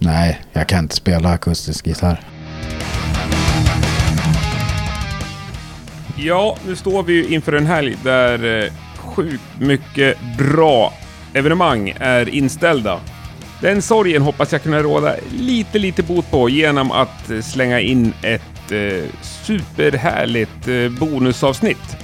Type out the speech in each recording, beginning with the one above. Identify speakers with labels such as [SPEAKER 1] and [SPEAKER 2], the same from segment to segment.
[SPEAKER 1] Nej, jag kan inte spela akustisk gitarr.
[SPEAKER 2] Ja, nu står vi ju inför en helg där eh, sjukt mycket bra evenemang är inställda. Den sorgen hoppas jag kunna råda lite, lite bot på genom att eh, slänga in ett eh, superhärligt eh, bonusavsnitt.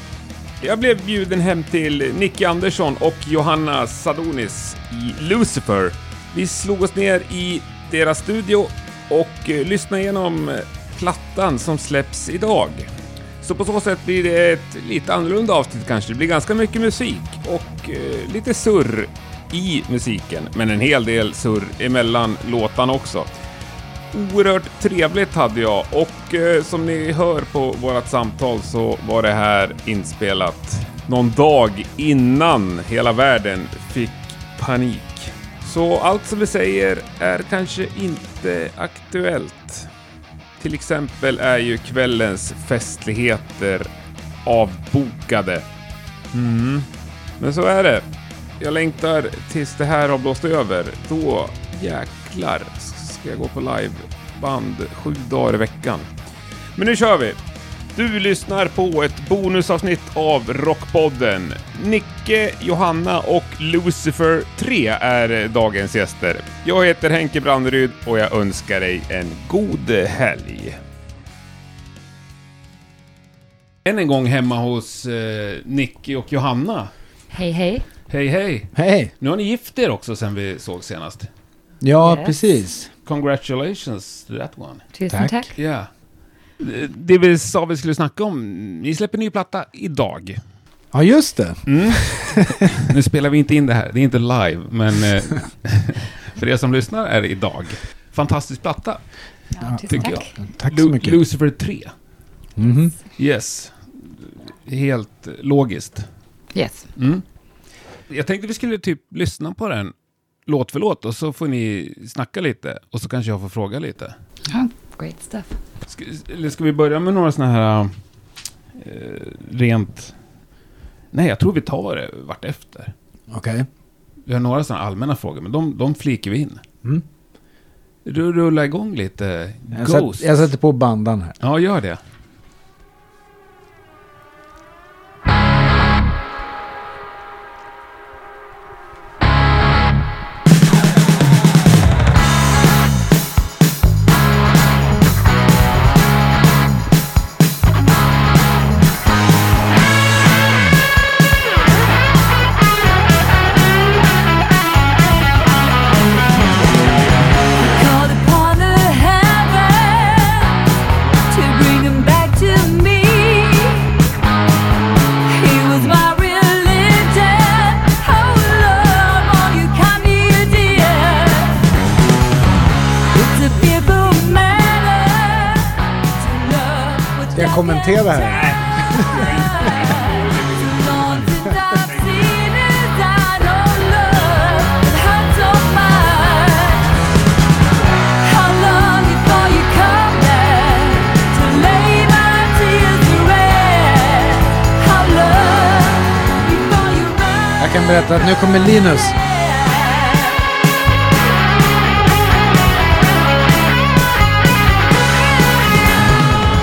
[SPEAKER 2] Jag blev bjuden hem till Nicky Andersson och Johanna Sadonis i Lucifer. Vi slog oss ner i deras studio och eh, lyssnade igenom eh, plattan som släpps idag. Så på så sätt blir det ett lite annorlunda avsnitt kanske. Det blir ganska mycket musik och eh, lite surr i musiken, men en hel del surr emellan låtarna också. Oerhört trevligt hade jag och eh, som ni hör på vårt samtal så var det här inspelat någon dag innan hela världen fick panik. Så allt som vi säger är kanske inte aktuellt. Till exempel är ju kvällens festligheter avbokade. Mm. Men så är det. Jag längtar tills det här har blåst över. Då jäklar ska jag gå på liveband sju dagar i veckan. Men nu kör vi! Du lyssnar på ett bonusavsnitt av Rockpodden. Nicke, Johanna och Lucifer 3 är dagens gäster. Jag heter Henke Branderyd och jag önskar dig en god helg. Än en gång hemma hos eh, Nicke och Johanna.
[SPEAKER 3] Hej hej.
[SPEAKER 2] Hej hej!
[SPEAKER 1] Hej!
[SPEAKER 2] Nu har ni gift er också sen vi såg senast.
[SPEAKER 1] Ja,
[SPEAKER 3] Yes.
[SPEAKER 1] precis.
[SPEAKER 2] Congratulations to that one.
[SPEAKER 3] Tusen
[SPEAKER 1] Tack.
[SPEAKER 3] tack.
[SPEAKER 2] Yeah. Det vi sa vi skulle snacka om, ni släpper ny platta idag.
[SPEAKER 1] Ja, just det.
[SPEAKER 2] Mm. Nu spelar vi inte in det här, det är inte live, men eh, för er som lyssnar är det idag. Fantastisk platta,
[SPEAKER 1] Uh,
[SPEAKER 3] Ja, tusen
[SPEAKER 2] tycker
[SPEAKER 3] tack.
[SPEAKER 2] jag.
[SPEAKER 1] Tack så
[SPEAKER 2] Lu-
[SPEAKER 1] mycket.
[SPEAKER 2] Lucifer 3.
[SPEAKER 1] Mhm.
[SPEAKER 2] Yes. Helt eh, logiskt.
[SPEAKER 3] Yes.
[SPEAKER 2] Mm. Jag tänkte vi skulle typ lyssna på den låt för låt och så får ni snacka lite och så kanske jag får fråga lite.
[SPEAKER 3] Ja, Oh, great stuff.
[SPEAKER 2] Ska, eller ska vi börja med några sådana här eh, rent... Nej, jag tror vi tar det vart efter.
[SPEAKER 1] Okej.
[SPEAKER 2] Vi har några sådana allmänna frågor, men de, de flikar vi in.
[SPEAKER 1] Mm.
[SPEAKER 2] Du rullar igång lite.
[SPEAKER 1] Jag,
[SPEAKER 2] Ghost.
[SPEAKER 1] sätter- jag sätter på bandan här.
[SPEAKER 2] Ja, gör det.
[SPEAKER 4] Called upon the heavens to bring him back to me. He was my religion. Oh Lord, all you kindly dear. It's a fearful matter to love with
[SPEAKER 1] Ska jag kommentera här? Jag kan berätta att nu kommer Linus.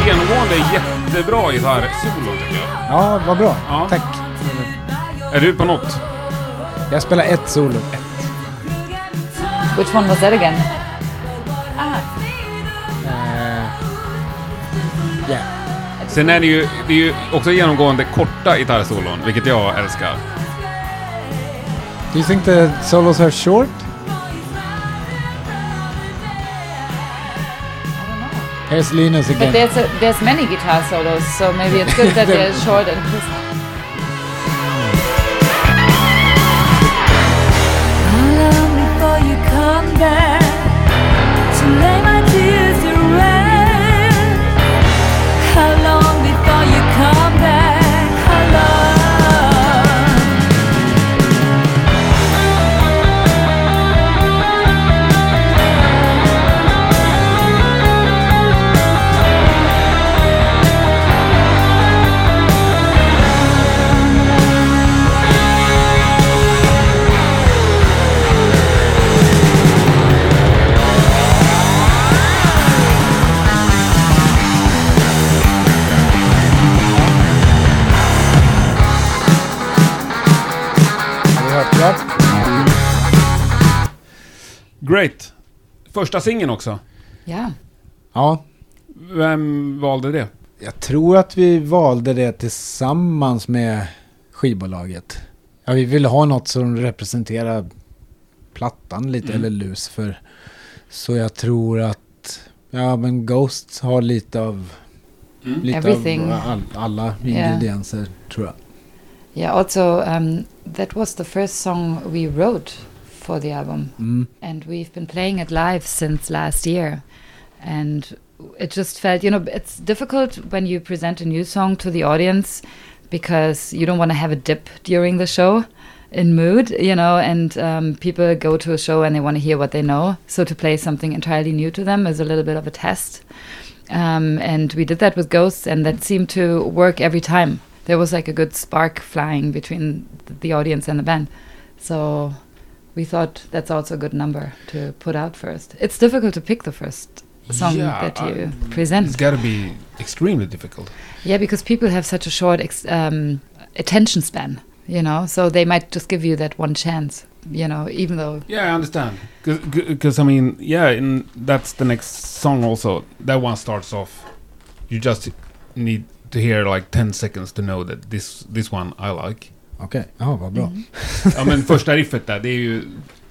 [SPEAKER 2] Genomgående jättebra gitarrsolo, tycker jag.
[SPEAKER 1] Ja, vad bra.
[SPEAKER 2] Ja.
[SPEAKER 1] Tack.
[SPEAKER 2] Är du på något?
[SPEAKER 1] Jag spelar ett solo.
[SPEAKER 3] Which one was that again?
[SPEAKER 1] Yeah.
[SPEAKER 2] Sen är det ju, det är ju också genomgående korta gitarrsolon, vilket jag älskar.
[SPEAKER 1] Do you think the solos are short? Here's Linus
[SPEAKER 3] But
[SPEAKER 1] again.
[SPEAKER 3] there's, a, there's many guitar solos, so maybe it's good that they're short and crisp.
[SPEAKER 4] How long before you come back? How long?
[SPEAKER 2] Right. Första singeln också.
[SPEAKER 3] Ja.
[SPEAKER 1] Ja,
[SPEAKER 2] Vem valde det?
[SPEAKER 1] jag tror att vi valde det tillsammans med skivbolaget. Ja, vi ville ha något som representerar plattan lite, eller lus för. Så jag tror att, ja men Ghost har lite av,
[SPEAKER 2] Mm.
[SPEAKER 1] lite
[SPEAKER 3] Everything.
[SPEAKER 1] av all, alla ingredienser tror jag.
[SPEAKER 3] Yeah, also, um, that was the first song we wrote for the album.
[SPEAKER 1] Mm.
[SPEAKER 3] And we've been playing it live since last year. And it just felt, you know, it's difficult when you present a new song to the audience because you don't want to have a dip during the show in mood, you know, and um, people go to a show and they want to hear what they know. So to play something entirely new to them is a little bit of a test. Um, and we did that with Ghosts, and that seemed to work every time. There was like a good spark flying between th- the audience and the band. So we thought that's also a good number to put out first. It's difficult to pick the first song
[SPEAKER 2] Yeah,
[SPEAKER 3] that you
[SPEAKER 2] I- It's
[SPEAKER 3] present.
[SPEAKER 2] gotta be extremely difficult.
[SPEAKER 3] Yeah, because people have such a short ex- um, attention span, you know, so they might just give you that one chance, you know, even though.
[SPEAKER 2] Yeah, I understand. Because, I mean, yeah, and that's the next song also. That one starts off. You just need to hear like 10 seconds to know that this, this one I like.
[SPEAKER 1] Okej, ja vad
[SPEAKER 3] Mm.
[SPEAKER 1] bra.
[SPEAKER 2] ja, men första riffet där, det är ju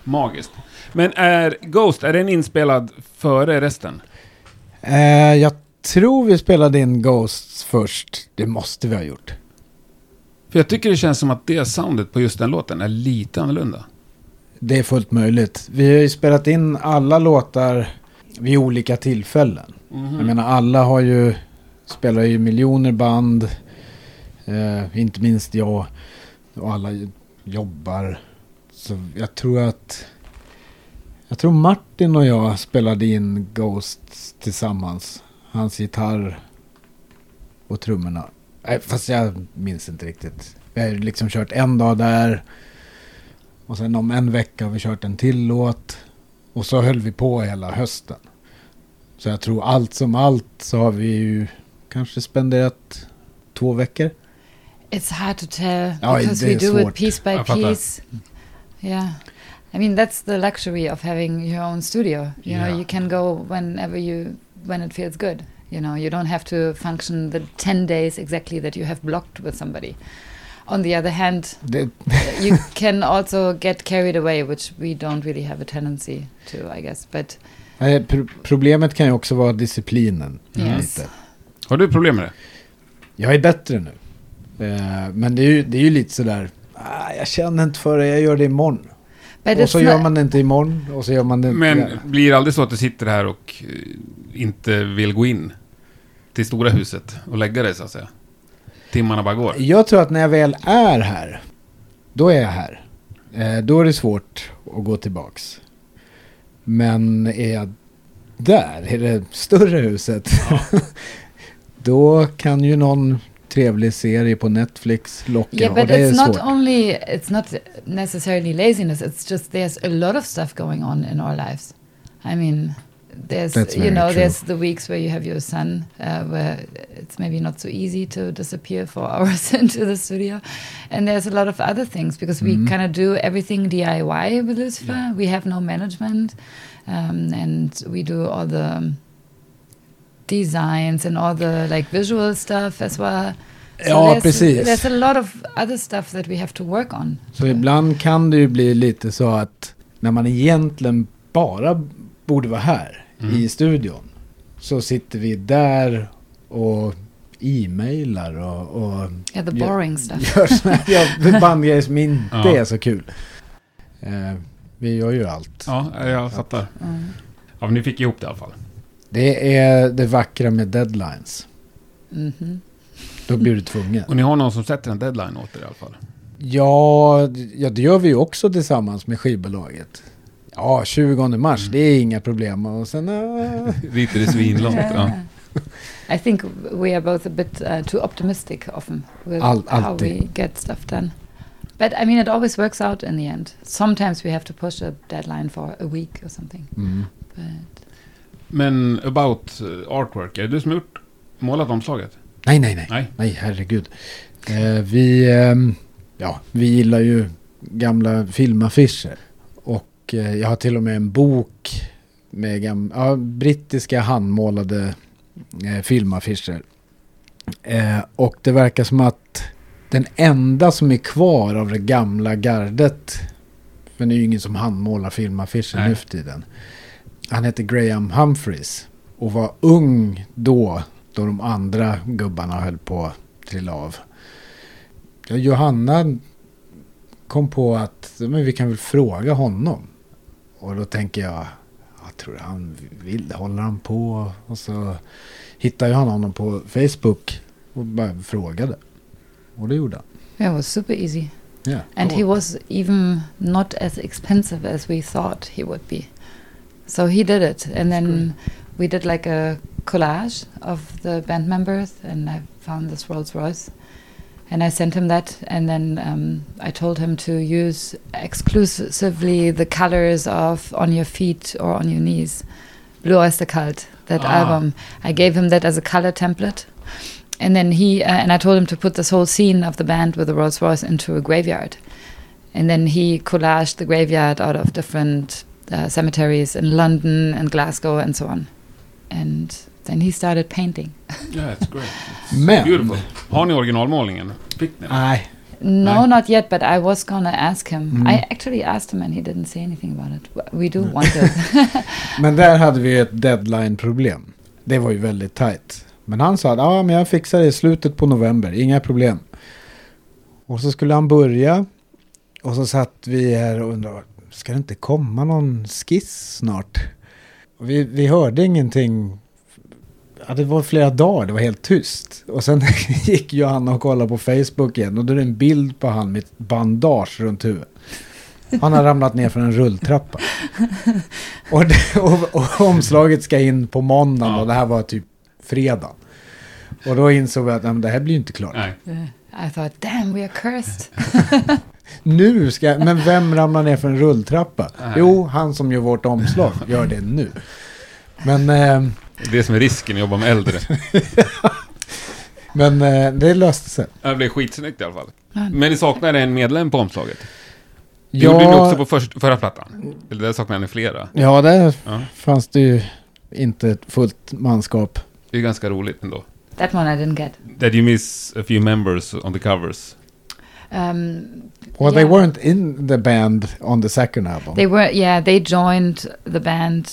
[SPEAKER 2] magiskt.
[SPEAKER 5] Men är Ghost, är den inspelad före resten?
[SPEAKER 1] Eh, jag tror vi spelade in Ghosts först, det måste vi ha gjort.
[SPEAKER 2] För jag tycker det känns som att det soundet på just den låten är lite annorlunda.
[SPEAKER 1] Det är fullt möjligt. Vi har ju spelat in alla låtar vid olika tillfällen.
[SPEAKER 2] Mm-hmm.
[SPEAKER 1] Jag menar alla har ju, spelar ju miljoner band. Eh, inte minst jag. Och alla ju- jobbar. Så jag tror att... Jag tror Martin och jag spelade in Ghosts tillsammans. Hans gitarr och trummorna. Nej, fast jag minns inte riktigt. Vi har ju liksom kört en dag där. Och sen om en vecka har vi kört en till låt. Och så höll vi på hela hösten. Så jag tror allt som allt så har vi ju kanske spenderat två veckor.
[SPEAKER 3] It's hard to tell
[SPEAKER 1] Oh, it
[SPEAKER 3] because we
[SPEAKER 1] is
[SPEAKER 3] do
[SPEAKER 1] what-
[SPEAKER 3] it piece by
[SPEAKER 2] I thought that-
[SPEAKER 3] piece. Yeah. I mean that's the luxury of having your own studio. You
[SPEAKER 2] Yeah.
[SPEAKER 3] know, you can go whenever you when it feels good. You know, you don't have to function the 10 days exactly that you have blocked with somebody. On the other hand,
[SPEAKER 1] Det,
[SPEAKER 3] you can also get carried away, which we don't really have a tendency to, I guess. But
[SPEAKER 1] nej, pro- problemet kan ju också vara disciplinen.
[SPEAKER 3] Yes.
[SPEAKER 1] Lite.
[SPEAKER 2] Har du problem med det?
[SPEAKER 1] Jag är bättre nu. Eh, men det är ju, det är ju lite sådär, ah, jag känner inte för det, jag gör det imorgon.
[SPEAKER 3] but
[SPEAKER 1] och
[SPEAKER 3] it's
[SPEAKER 1] så gör
[SPEAKER 3] not-
[SPEAKER 1] man det inte imorgon och så gör man det inte
[SPEAKER 2] Men
[SPEAKER 1] där.
[SPEAKER 2] blir det aldrig så att du sitter här och eh, inte vill gå in till stora huset och lägga dig så att säga? Timmarna bara går.
[SPEAKER 1] Jag tror att när jag väl är här, då är jag här. Eh, då är det svårt att gå tillbaks. Men är jag där, i det större huset, då kan ju någon trevlig serie på Netflix locka.
[SPEAKER 3] Yeah,
[SPEAKER 1] och
[SPEAKER 3] but
[SPEAKER 1] det är
[SPEAKER 3] it's not
[SPEAKER 1] svårt.
[SPEAKER 3] only it's not necessarily laziness. It's just there's a lot of stuff going on in our lives. I mean, there's
[SPEAKER 1] That's
[SPEAKER 3] you
[SPEAKER 1] very
[SPEAKER 3] know
[SPEAKER 1] true.
[SPEAKER 3] there's the weeks where you have your son, uh, where it's maybe not so easy to disappear for hours into the studio, and there's a lot of other things because
[SPEAKER 1] Mm-hmm.
[SPEAKER 3] we kind of do everything DIY with Lucifer. We have no management, um, and we do all the um, designs and all the like visual stuff as well.
[SPEAKER 1] Ja,
[SPEAKER 3] there's,
[SPEAKER 1] precis.
[SPEAKER 3] There's a lot of other stuff that we have to work on.
[SPEAKER 1] Så ibland kan det ju bli lite så att när man egentligen bara borde vara här i studion så sitter vi där och e-mailar och, och
[SPEAKER 3] Yeah, the
[SPEAKER 1] Yeah.
[SPEAKER 3] boring stuff.
[SPEAKER 1] gör såna här bandgrejer som inte
[SPEAKER 2] Ja.
[SPEAKER 1] är så kul. Eh, vi gör ju allt.
[SPEAKER 2] Ja, jag fattar.
[SPEAKER 3] Mm.
[SPEAKER 2] Ja, men ni fick ihop det i alla fall.
[SPEAKER 1] Det är det vackra med deadlines.
[SPEAKER 3] Mhm.
[SPEAKER 1] Då blir du tvungen.
[SPEAKER 2] Och ni har någon som sätter en deadline åt er i alla fall.
[SPEAKER 1] Ja, d- ja, det gör vi ju också tillsammans med skivbolaget. Ja, 20 mars, det är inga problem. Och sen... eh,
[SPEAKER 2] Riter i svinlångt.
[SPEAKER 1] uh,
[SPEAKER 2] ja.
[SPEAKER 3] I think we are both a bit uh, too optimistic often with
[SPEAKER 1] Al-
[SPEAKER 3] how
[SPEAKER 1] alltid.
[SPEAKER 3] we get stuff done. But I mean, it always works out in the end. Sometimes we have to push a deadline for a week or something.
[SPEAKER 1] mm.
[SPEAKER 3] But
[SPEAKER 2] Men about eh, artwork, är det du som har gjort, målat omslaget?
[SPEAKER 1] Nej, nej, nej.
[SPEAKER 2] Nej.
[SPEAKER 1] Nej, herregud. Eh, vi, ehm, ja, vi gillar ju gamla filmaffischer. Och Och eh, jag har till och med en bok med gam- ja, brittiska handmålade eh, filmaffischer. Eh, och det verkar som att den enda som är kvar av det gamla gardet, för det är ju ingen som handmålar filmaffischer
[SPEAKER 2] Nej.
[SPEAKER 1] nu för tiden. Han hette Graham Humphreys och var ung då, då de andra gubbarna höll på att trilla av. Ja, Johanna kom på att men vi kan väl fråga honom. Och då tänker jag, jag tror han vill, håller han på? Och så hittade jag honom på Facebook och bara frågade. Och det gjorde han.
[SPEAKER 3] Yeah, it was super easy.
[SPEAKER 1] Ja.
[SPEAKER 3] And he
[SPEAKER 2] Cool.
[SPEAKER 3] was even not as expensive as we thought he would be. So he did it. And then we did like a collage of the band members, and I found this Rolls Royce. And I sent him that, and then um, I told him to use exclusively the colors of On Your Feet or On Your Knees, Blue Oyster Cult, that
[SPEAKER 2] Ah.
[SPEAKER 3] album. I gave him that as a color template. And then he, uh, and I told him to put this whole scene of the band with the Rolls Royce into a graveyard. And then he collaged the graveyard out of different uh, cemeteries in London and Glasgow and so on. And then he started painting.
[SPEAKER 2] Yeah, it's great.
[SPEAKER 1] Men-
[SPEAKER 2] Beautiful. Har ni originalmålningen? Fick ni den?
[SPEAKER 1] Nej,
[SPEAKER 3] No,
[SPEAKER 2] Right.
[SPEAKER 3] not yet, but I was gonna ask him.
[SPEAKER 1] Mm.
[SPEAKER 3] I actually asked him and he didn't say anything about it. W- We do want it.
[SPEAKER 1] men där hade vi ett deadline-problem. Det var ju väldigt tajt. Men han sa att ah, men jag fixar det i slutet på november, inga problem. Och så skulle han börja. Och så satt vi här och undrade, ska det inte komma någon skiss snart? Och vi, vi hörde ingenting. Ja, det var flera dagar, det var helt tyst. Och sen gick Johanna och kollade på Facebook igen och då är det en bild på han med ett bandage runt huvudet. Han har ramlat ner från en rulltrappa. Och, det, och, och omslaget ska in på måndagen och det här var typ fredag. Och då insåg vi att nej, men det här blir ju inte klart.
[SPEAKER 2] Nej.
[SPEAKER 3] I thought, damn, we are cursed.
[SPEAKER 1] Nu ska jag, men vem ramlar ner för en rulltrappa?
[SPEAKER 2] Nej.
[SPEAKER 1] Jo, han som gör vårt omslag gör det nu. Men, eh,
[SPEAKER 2] Det är det som är risken att jobba med äldre.
[SPEAKER 1] men eh, det löste sig.
[SPEAKER 2] Det blev skitsnyggt i alla fall.
[SPEAKER 3] Ja.
[SPEAKER 2] Men ni saknade en medlem på omslaget. Det
[SPEAKER 1] Ja,
[SPEAKER 2] gjorde ni också på först, förra plattan. Eller där saknade ni flera.
[SPEAKER 1] ja, där
[SPEAKER 2] Ja.
[SPEAKER 1] fanns det ju inte ett fullt manskap.
[SPEAKER 2] Det är ganska roligt ändå.
[SPEAKER 3] That one I didn't get.
[SPEAKER 2] That you miss a few members on the covers.
[SPEAKER 3] Um,
[SPEAKER 1] Well, they
[SPEAKER 3] Yeah.
[SPEAKER 1] weren't in the band on the second album.
[SPEAKER 3] They were, yeah, they joined the band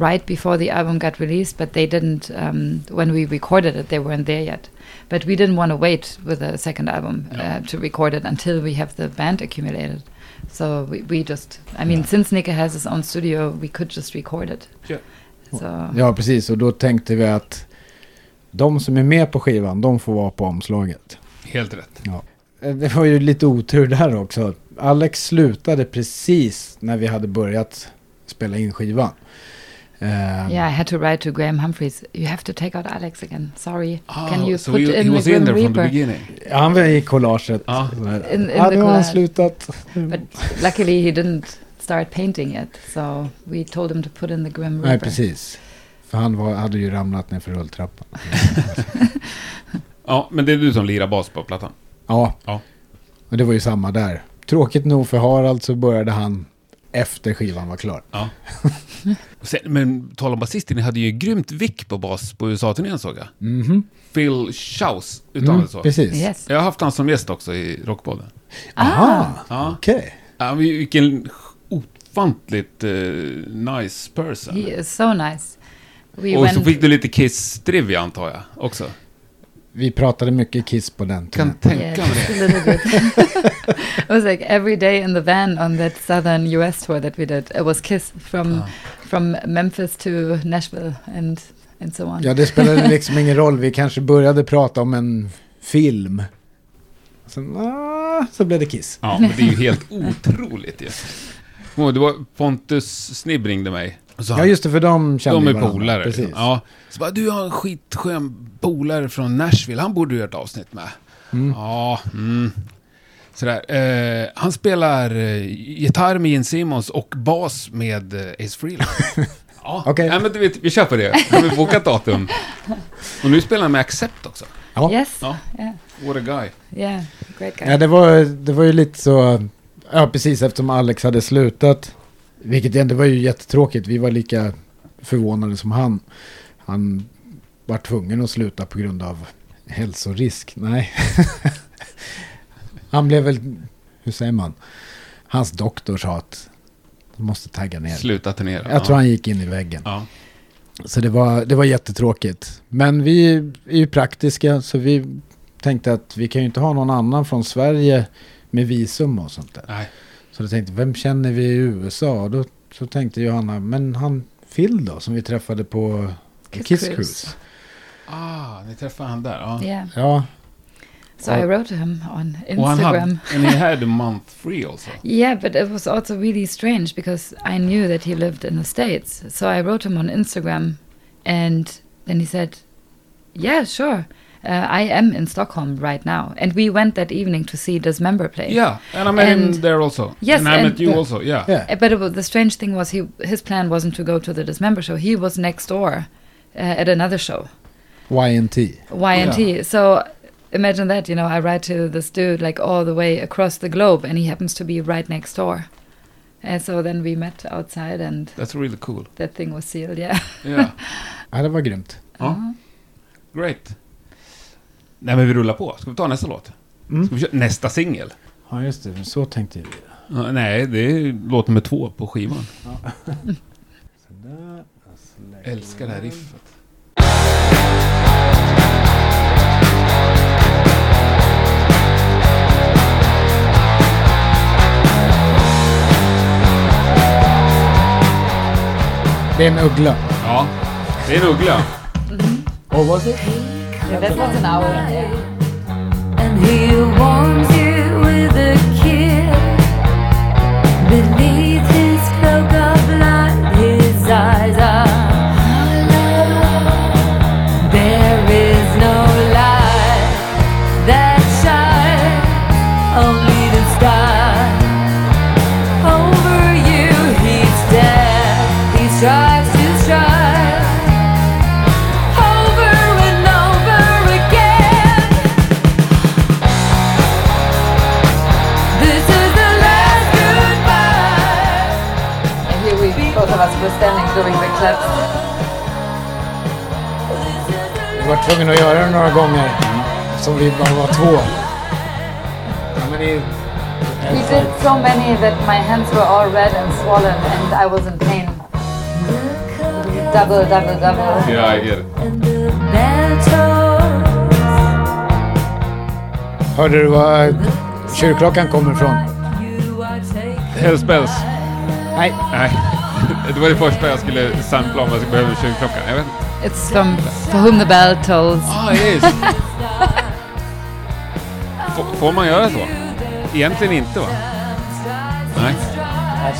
[SPEAKER 3] right before the album got released, but they didn't, um, when we recorded it, they weren't there yet. But we didn't want to wait with the second album
[SPEAKER 2] Yeah.
[SPEAKER 3] uh, to record it until we have the band accumulated. So we, we just, I mean, since Nicker has his own studio, we could just record it.
[SPEAKER 2] Yeah.
[SPEAKER 3] So,
[SPEAKER 1] Ja, precis. Och då tänkte vi att de som är med på skivan, de får vara på omslaget.
[SPEAKER 2] Helt rätt.
[SPEAKER 1] Eh, Det var ju lite otur där också. Alex slutade precis när vi hade börjat spela in skivan. Eh,
[SPEAKER 3] yeah, I had to write to Graham Humphreys, you have to take out Alex again. Sorry. Can you
[SPEAKER 2] Ah, so
[SPEAKER 3] put
[SPEAKER 2] he,
[SPEAKER 3] in
[SPEAKER 2] he
[SPEAKER 3] the
[SPEAKER 2] was in
[SPEAKER 3] Grim
[SPEAKER 2] there from the
[SPEAKER 3] Reaper?
[SPEAKER 2] beginning.
[SPEAKER 1] Han var i collaget.
[SPEAKER 2] Ja.
[SPEAKER 1] Sådär.
[SPEAKER 3] In- in
[SPEAKER 1] ja,
[SPEAKER 3] the
[SPEAKER 1] nu har han
[SPEAKER 3] collage.
[SPEAKER 1] slutat.
[SPEAKER 3] Mm. Luckily, he didn't start painting yet, so we told him to put in the Grim Reaper.
[SPEAKER 1] Nej, precis. För han var, hade ju ramlat ner för rulltrappan.
[SPEAKER 2] Ja, men det är du som lirar bas på plattan.
[SPEAKER 1] Ja.
[SPEAKER 2] Ja.
[SPEAKER 1] Och det var ju samma där. Tråkigt nog för Harald så började han efter skivan var klar.
[SPEAKER 2] Och Sen, men tala om basisten, ni hade ju grymt vick på bas på USA-turnén såg jag.
[SPEAKER 1] Mhm.
[SPEAKER 2] Phil Schaus, uttalar
[SPEAKER 1] Mm,
[SPEAKER 2] det så.
[SPEAKER 1] precis.
[SPEAKER 3] Yes.
[SPEAKER 2] Jag har haft han som gäst också i Rockpodden.
[SPEAKER 3] Ah.
[SPEAKER 1] Aha,
[SPEAKER 2] Ja.
[SPEAKER 1] okej.
[SPEAKER 2] Ja, men vilken ofantligt eh, nice person.
[SPEAKER 3] He is so nice. We
[SPEAKER 2] Och så
[SPEAKER 3] went.
[SPEAKER 2] fick du lite Kiss-trivia antar jag också.
[SPEAKER 1] Vi pratade mycket Kiss på den
[SPEAKER 2] Kan
[SPEAKER 1] tiden.
[SPEAKER 2] tänka mig
[SPEAKER 3] Yes,
[SPEAKER 2] det.
[SPEAKER 3] a little bit. it was like every day in the van on that southern U.S. tour that we did. It was Kiss from
[SPEAKER 2] Ah.
[SPEAKER 3] from Memphis to Nashville and and so on.
[SPEAKER 1] Ja, det spelade liksom ingen roll. Vi kanske började prata om en film. Sen, ah, så blev det Kiss.
[SPEAKER 2] Ja, men det är ju helt otroligt ju. Kommer du ihåg, Det var Pontus Snibb ringde mig. Och sa
[SPEAKER 1] Ja, just det, för de kände
[SPEAKER 2] De
[SPEAKER 1] ju
[SPEAKER 2] är
[SPEAKER 1] varandra.
[SPEAKER 2] polare.
[SPEAKER 1] Precis.
[SPEAKER 2] liksom. Ja. Så bara, du har en skitskön polare från Nashville, han borde du göra ett avsnitt med. Ja, mm. Sådär. Eh, han spelar eh, gitarr med Gene Simmons och bas med eh, Ace Frehley. ja,
[SPEAKER 1] Okej.
[SPEAKER 2] Nej, men du vet, vi kör på det. Har vi bokat datum? Och nu spelar han med Accept också.
[SPEAKER 1] Ja.
[SPEAKER 3] Yes.
[SPEAKER 2] Ja.
[SPEAKER 3] Yeah.
[SPEAKER 2] What a guy.
[SPEAKER 3] Yeah. Great guy.
[SPEAKER 1] Ja, det var, det var ju lite så... Ja, precis, eftersom Alex hade slutat Vilket ändå var ju jättetråkigt. Vi var lika förvånade som han. Han var tvungen att sluta på grund av hälsorisk. Nej. han blev väl, hur säger man? Hans doktor sa att du måste tagga ner.
[SPEAKER 2] Sluta turnera.
[SPEAKER 1] Jag tror han gick in i väggen.
[SPEAKER 2] Ja.
[SPEAKER 1] Så det var, det var jättetråkigt. Men vi är ju praktiska så vi tänkte att vi kan ju inte ha någon annan från Sverige med visum och sånt där.
[SPEAKER 2] Nej.
[SPEAKER 1] Så då tänkte jag, vem känner vi i USA? Och Då så tänkte Johanna, men han Phil då som vi träffade på Kiss,
[SPEAKER 3] Kiss
[SPEAKER 1] Cruise.
[SPEAKER 3] Cruise.
[SPEAKER 2] Ah, ni träffade han där. Ja.
[SPEAKER 3] Yeah.
[SPEAKER 1] Ja,
[SPEAKER 3] So I wrote to him on
[SPEAKER 2] Och han hade,
[SPEAKER 3] Instagram.
[SPEAKER 2] and he had a month free also.
[SPEAKER 3] Yeah, but it was also really strange because I knew that he lived in the States. So I wrote him on Instagram and then he said, Yeah, sure. Uh, I am in Stockholm right now. And we went that evening to see Dismember play.
[SPEAKER 2] Yeah, and I met him
[SPEAKER 3] And-
[SPEAKER 2] there also.
[SPEAKER 3] Yes,
[SPEAKER 2] and I
[SPEAKER 3] and-
[SPEAKER 2] met you
[SPEAKER 1] Yeah.
[SPEAKER 2] also. Yeah.
[SPEAKER 1] yeah.
[SPEAKER 3] Uh, But it was, the strange thing was he his plan wasn't to go to the Dismember show. He was next door uh, at another show.
[SPEAKER 1] YNT.
[SPEAKER 3] YNT. So imagine that, you know, I write to this dude like all the way across the globe and he happens to be right next door. And so then we met outside and
[SPEAKER 2] That's really cool.
[SPEAKER 3] that thing was sealed, yeah.
[SPEAKER 2] Yeah.
[SPEAKER 1] Ja, det var grymt.
[SPEAKER 3] Uh-huh.
[SPEAKER 2] ja. Great. Nej men vi rullar på. Ska vi ta nästa låt?
[SPEAKER 1] Mm.
[SPEAKER 2] Ska vi köra nästa singel?
[SPEAKER 1] Ja, just det. Så tänkte vi.
[SPEAKER 2] Ja, nej, det är låt nummer två på skivan.
[SPEAKER 1] Sådär.
[SPEAKER 2] Älskar det här riffet.
[SPEAKER 1] Det är en uggla.
[SPEAKER 2] Ja, det är en uggla.
[SPEAKER 1] Och vad det?
[SPEAKER 3] that was an hour. Yeah.
[SPEAKER 4] And he warms you with a kiss beneath his cloak of light. His eyes are hollow. There is no light that shines, only the sky over you. He's dead. He tries to strike over and over again. This is the last goodbye.
[SPEAKER 3] And here we both of us were standing doing the claps.
[SPEAKER 1] Vi var tvungna att göra det några gånger. Som vi bara var två. Ja, men det är...
[SPEAKER 3] We did so many that my hands were all red and swollen and I was in pain. Double, double, double.
[SPEAKER 2] Ja, jag det.
[SPEAKER 4] And the bell tolls.
[SPEAKER 1] Hörde du var kyrkklockan kommer ifrån?
[SPEAKER 4] You are taken.
[SPEAKER 2] Hellspells.
[SPEAKER 1] Nej.
[SPEAKER 2] Nej. Det var det första jag skulle sampla om jag skulle behöva tjuvklockan. Jag vet inte.
[SPEAKER 3] It's from For Whom the Bell Tolls.
[SPEAKER 2] Ah, yes. F- får man göra så? Egentligen inte va? Nej.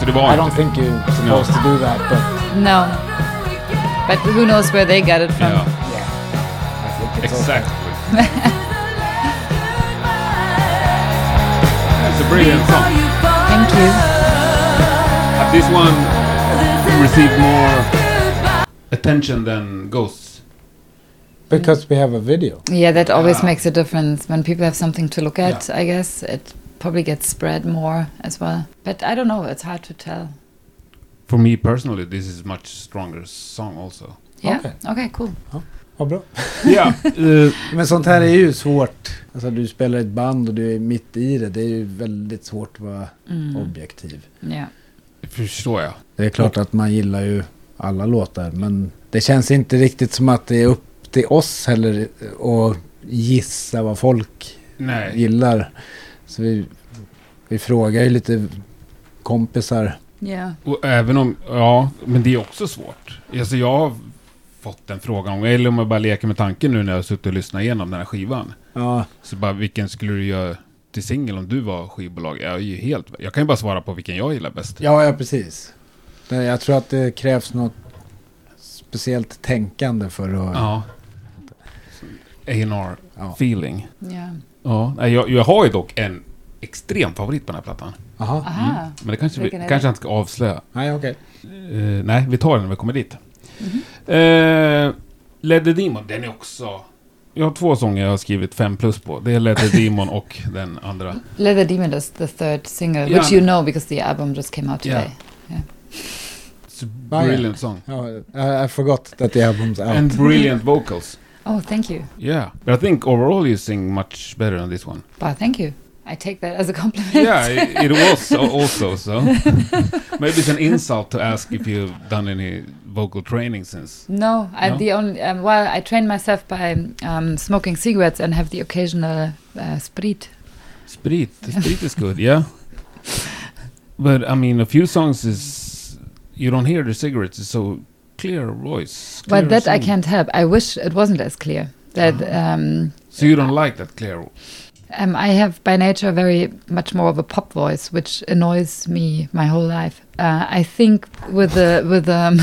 [SPEAKER 2] Så det var
[SPEAKER 1] I don't
[SPEAKER 2] inte.
[SPEAKER 1] think you're supposed to do that, but
[SPEAKER 3] No. But who knows where they got it from.
[SPEAKER 2] Ja,
[SPEAKER 1] I think it's
[SPEAKER 2] exakt. It's a brilliant
[SPEAKER 4] Before
[SPEAKER 2] song.
[SPEAKER 4] you fall.
[SPEAKER 3] Thank you.
[SPEAKER 2] But This one received more
[SPEAKER 4] Goodbye.
[SPEAKER 2] attention than Ghosts.
[SPEAKER 1] because we have a video.
[SPEAKER 3] Yeah, that always
[SPEAKER 2] Yeah.
[SPEAKER 3] makes a difference. When people have something to look at, I guess it probably gets spread more as well. But I don't know, it's hard to tell.
[SPEAKER 2] For me personally, this is much stronger song also.
[SPEAKER 3] Yeah.
[SPEAKER 1] Okay.
[SPEAKER 3] Okay, cool.
[SPEAKER 1] Vad bra.
[SPEAKER 2] Ja.
[SPEAKER 1] Eh, Men sånt här är ju svårt. Alltså du spelar i ett band och du är mitt i det. Det är ju väldigt svårt att vara objektiv.
[SPEAKER 3] Mm. Yeah.
[SPEAKER 2] Förstår jag.
[SPEAKER 1] Det är klart att man gillar ju alla låtar, men det känns inte riktigt som att det är upp till oss heller att gissa vad folk
[SPEAKER 2] Nej.
[SPEAKER 1] gillar. Så vi, vi frågar ju lite kompisar.
[SPEAKER 3] Yeah.
[SPEAKER 2] Och även om, ja, men det är också svårt. Alltså jag har fått den frågan, eller om jag bara leker med tanken nu när jag har suttit och lyssnat igenom den här skivan.
[SPEAKER 1] Ja,
[SPEAKER 2] Så bara, vilken skulle du göra till singel om du var skivbolag? Jag är ju helt... Jag kan ju bara svara på vilken jag gillar bäst.
[SPEAKER 1] ja, ja precis. Det- Jag tror att det krävs något speciellt tänkande för att...
[SPEAKER 2] Ja. A&R
[SPEAKER 1] Ja.
[SPEAKER 2] feeling.
[SPEAKER 3] Yeah.
[SPEAKER 2] Ja. Nej, Jag, jag har ju dock en extrem favorit på den här plattan.
[SPEAKER 1] Aha.
[SPEAKER 3] Aha.
[SPEAKER 2] Men det kanske, vi,
[SPEAKER 3] Vilken är det?
[SPEAKER 2] kanske jag inte ska avslöja.
[SPEAKER 1] Nej, okej.
[SPEAKER 2] Eh, nej, vi tar den när vi kommer dit. Eh, Led the Demon, den är också... Jag har två sånger jag har skrivit fem plus på. Det är Led the Demon och den andra.
[SPEAKER 3] Leather Demon is the third single,
[SPEAKER 2] Mm-hmm. Yeah.
[SPEAKER 3] which you know because the album just came out
[SPEAKER 2] Yeah.
[SPEAKER 3] today.
[SPEAKER 2] It's a
[SPEAKER 1] yeah.
[SPEAKER 2] brilliant song.
[SPEAKER 1] Oh, I, I forgot that the album's out.
[SPEAKER 2] And brilliant vocals.
[SPEAKER 3] Oh, thank you.
[SPEAKER 2] Yeah. But I think overall you sing much better on this one.
[SPEAKER 3] Wow, thank you. I take that as a compliment.
[SPEAKER 2] Yeah, it, it was al- also so. Maybe it's an insult to ask if you've done any vocal training since.
[SPEAKER 3] No, I
[SPEAKER 2] No?
[SPEAKER 3] the only um, well, I train myself by um, smoking cigarettes and have the occasional uh, sprit.
[SPEAKER 2] Sprit, Sprit is good, yeah. But I mean, a few songs is you don't hear the cigarettes. It's so clear voice. Clear
[SPEAKER 3] But that I
[SPEAKER 2] song.
[SPEAKER 3] can't help. I wish it wasn't as clear. That
[SPEAKER 2] Ah.
[SPEAKER 3] um,
[SPEAKER 2] So you don't like that clear?
[SPEAKER 3] um, I have by nature very much more of a pop voice, which annoys me my whole life. Uh, I think with the with um,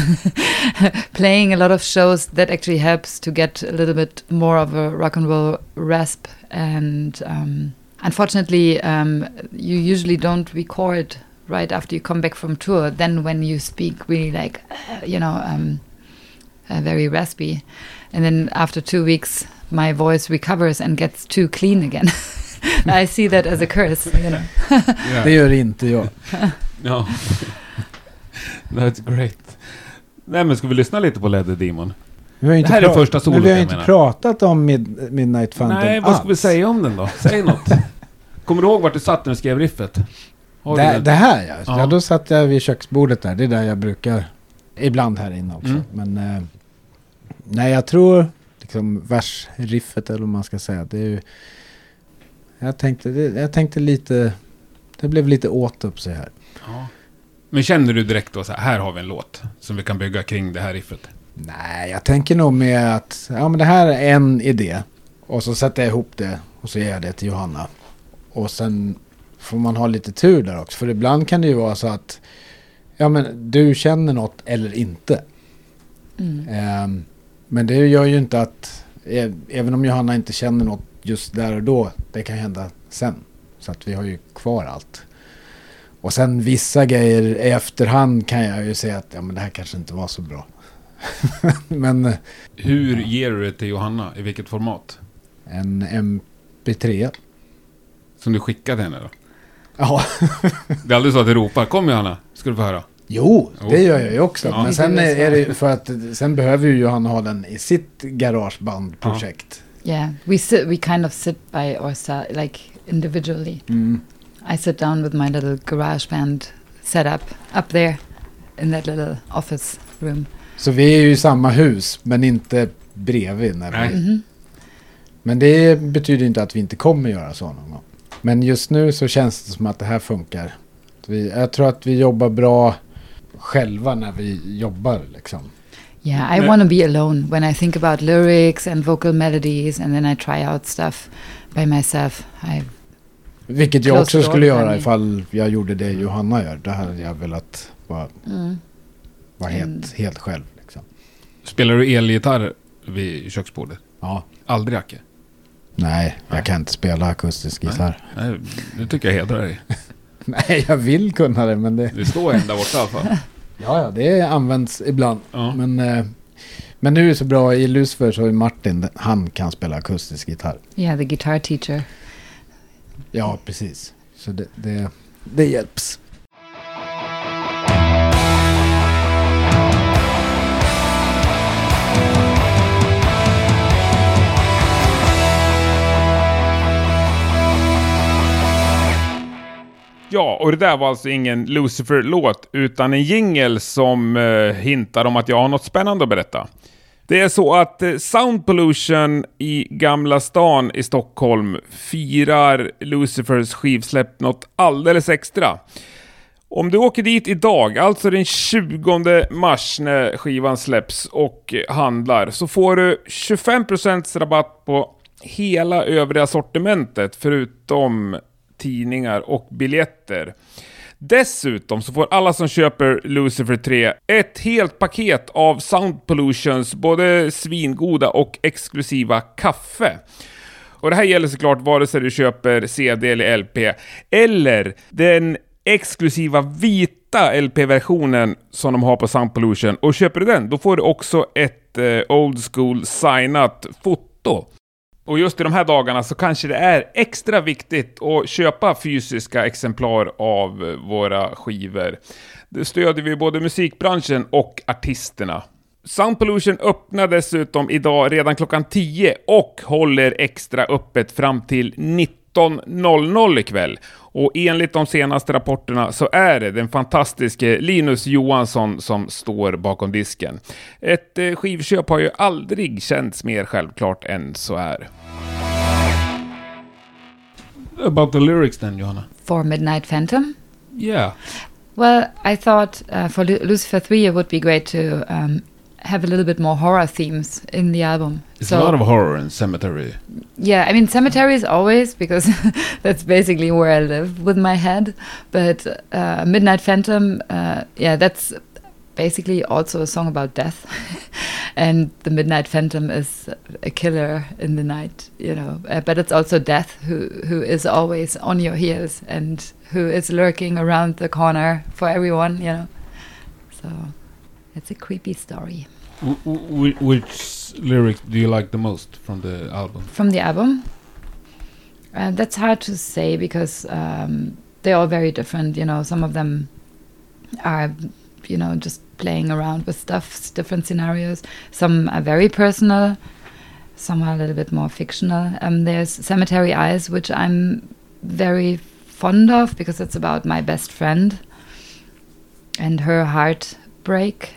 [SPEAKER 3] playing a lot of shows that actually helps to get a little bit more of a rock and roll rasp. And um, unfortunately, um, you usually don't record right after you come back from tour. Then when you speak, really like you know. Um, uh, very raspy. And then after two weeks, my voice recovers and gets too clean again. I see that as a curse. You know.
[SPEAKER 2] Yeah.
[SPEAKER 1] Det gör inte jag.
[SPEAKER 2] No. That's great. Nej men ska vi lyssna lite på Ledder Demon?
[SPEAKER 1] Vi har ju inte
[SPEAKER 2] Det här är
[SPEAKER 1] pra-
[SPEAKER 2] första solot,
[SPEAKER 1] Men vi har ju
[SPEAKER 2] jag
[SPEAKER 1] inte
[SPEAKER 2] menar.
[SPEAKER 1] pratat om Mid- Midnight Phantom
[SPEAKER 2] Nej, vad ska vi
[SPEAKER 1] alls.
[SPEAKER 2] säga om den då? Säg något. Kommer du ihåg vart du satt när du skrev riffet? Har du
[SPEAKER 1] Det, det här ja.
[SPEAKER 2] Ja.
[SPEAKER 1] ja. Då satt jag vid köksbordet där. Det är där jag brukar. Ibland här inne också.
[SPEAKER 2] Mm.
[SPEAKER 1] Men eh, nej, jag tror liksom versriffet eller vad man ska säga. Det är ju, jag, tänkte, det, jag tänkte lite. Det blev lite åt upp sig här.
[SPEAKER 2] Ja. Men känner du direkt då så här, här har vi en låt som vi kan bygga kring det här riffet?
[SPEAKER 1] Nej, jag tänker nog med att ja, men det här är en idé. Och så sätter jag ihop det och så ger jag det till Johanna. Och sen får man ha lite tur där också. För ibland kan det ju vara så att ja, men du känner något eller inte.
[SPEAKER 3] Mm.
[SPEAKER 1] Ehm, men det gör ju inte att eh, även om Johanna inte känner något just där och då, det kan hända sen. Så att vi har ju kvar allt. Och sen vissa grejer i efterhand kan jag ju säga att ja, men det här kanske inte var så bra. men eh,
[SPEAKER 2] Hur ger du det till Johanna? I vilket format?
[SPEAKER 1] en MP3.
[SPEAKER 2] Som du skickade henne då?
[SPEAKER 1] Ja,
[SPEAKER 2] Det är aldrig så att du ropar Kom Johanna, ska du få höra.
[SPEAKER 1] jo,
[SPEAKER 2] Jo.
[SPEAKER 1] det gör jag ju också.
[SPEAKER 2] Ja.
[SPEAKER 1] Men sen är, är det ju för att sen behöver ju Johanna ha den i sitt garagebandprojekt.
[SPEAKER 3] Yeah, we sit. We kind of sit by ourselves, like individually.
[SPEAKER 1] Mm.
[SPEAKER 3] I sit down with my little garage band setup up there in that little office room.
[SPEAKER 1] Så vi är ju i samma hus, men inte bredvid. När vi
[SPEAKER 2] Nej.
[SPEAKER 3] Mhm.
[SPEAKER 1] Men det betyder inte att vi inte kommer göra så någon gång. Men just nu så känns det som att det här funkar. Vi, jag tror att vi jobbar bra själva när vi jobbar liksom.
[SPEAKER 3] Yeah, I
[SPEAKER 2] No.
[SPEAKER 3] want to be alone when I think about lyrics and vocal melodies, and then I try out stuff by myself. I
[SPEAKER 1] Vilket jag
[SPEAKER 3] Close
[SPEAKER 1] också
[SPEAKER 3] door
[SPEAKER 1] skulle göra
[SPEAKER 3] planning.
[SPEAKER 1] ifall jag gjorde det Johanna gör. Då hade jag velat vara,
[SPEAKER 3] mm.
[SPEAKER 1] vara
[SPEAKER 3] Mm.
[SPEAKER 1] helt, helt själv. Liksom.
[SPEAKER 2] Spelar du elgitarr vid köksbordet?
[SPEAKER 1] Ja.
[SPEAKER 2] Aldrig Acke?
[SPEAKER 1] Nej,
[SPEAKER 2] Nej.
[SPEAKER 1] jag kan inte spela akustisk gitarr.
[SPEAKER 2] Nej, det tycker jag hedrar dig.
[SPEAKER 1] Nej, jag vill kunna det men det,
[SPEAKER 2] Det står en där borta i alla fall.
[SPEAKER 1] ja, ja, det används ibland.
[SPEAKER 2] Ja.
[SPEAKER 1] Men, eh, men nu är det så bra i Lucifer så är Martin, han kan spela akustisk gitarr.
[SPEAKER 3] yeah, the guitar teacher.
[SPEAKER 1] Ja, precis. Så det, det, Mm. det hjälps.
[SPEAKER 5] Ja, och det där var alltså ingen Lucifer-låt, utan en jingle som eh, hintar om att jag har något spännande att berätta. Det är så att eh, Sound Pollution i Gamla stan i Stockholm firar Lucifers skivsläpp något alldeles extra. Om du åker dit idag, alltså den 20 mars när skivan släpps och eh, handlar, så får du 25% rabatt på hela övriga sortimentet förutom tidningar och biljetter. Dessutom så får alla som köper Lucifer 3 ett helt paket av Sound Pollutions både svingoda och exklusiva kaffe. Och det här gäller såklart vare sig du köper CD eller LP, eller den exklusiva vita LP-versionen som de har på Sound Pollution. Och köper du den, då får du också ett eh, old school signat foto. Och just i de här dagarna så kanske det är extra viktigt att köpa fysiska exemplar av eh, våra skivor. Det stödjer vi både musikbranschen och artisterna. Sound Pollution öppnar dessutom idag redan klockan 10 och håller extra öppet fram till 19.00 ikväll. Och enligt de senaste rapporterna så är det den fantastiske Linus Johansson som står bakom disken. Ett eh, skivköp har ju aldrig känts mer självklart än så här.
[SPEAKER 2] About the lyrics then, Johanna.
[SPEAKER 3] For Midnight Phantom?
[SPEAKER 2] Yeah.
[SPEAKER 3] Well, I thought uh, for Lu- Lucifer 3 it would be great to um, have a little bit more horror themes in the album.
[SPEAKER 2] It's a lot of horror in Cemetery.
[SPEAKER 3] Yeah, I mean cemeteries always because that's basically where I live with my head. But uh, Midnight Phantom, uh, yeah, that's basically also a song about death, and the Midnight Phantom is a killer in the night, you know. Uh, but it's also death who who is always on your heels and who is lurking around the corner for everyone, you know. So it's a creepy story
[SPEAKER 2] W- w- which lyrics do you like the most from the album?
[SPEAKER 3] from the album? Uh, that's hard to say because um, they're all very different. You know, some of them are, you know, just playing around with stuff, s- different scenarios. Some are very personal. Some are a little bit more fictional. Um, there's Cemetery Eyes, which I'm very fond of because it's about my best friend and her heartbreak.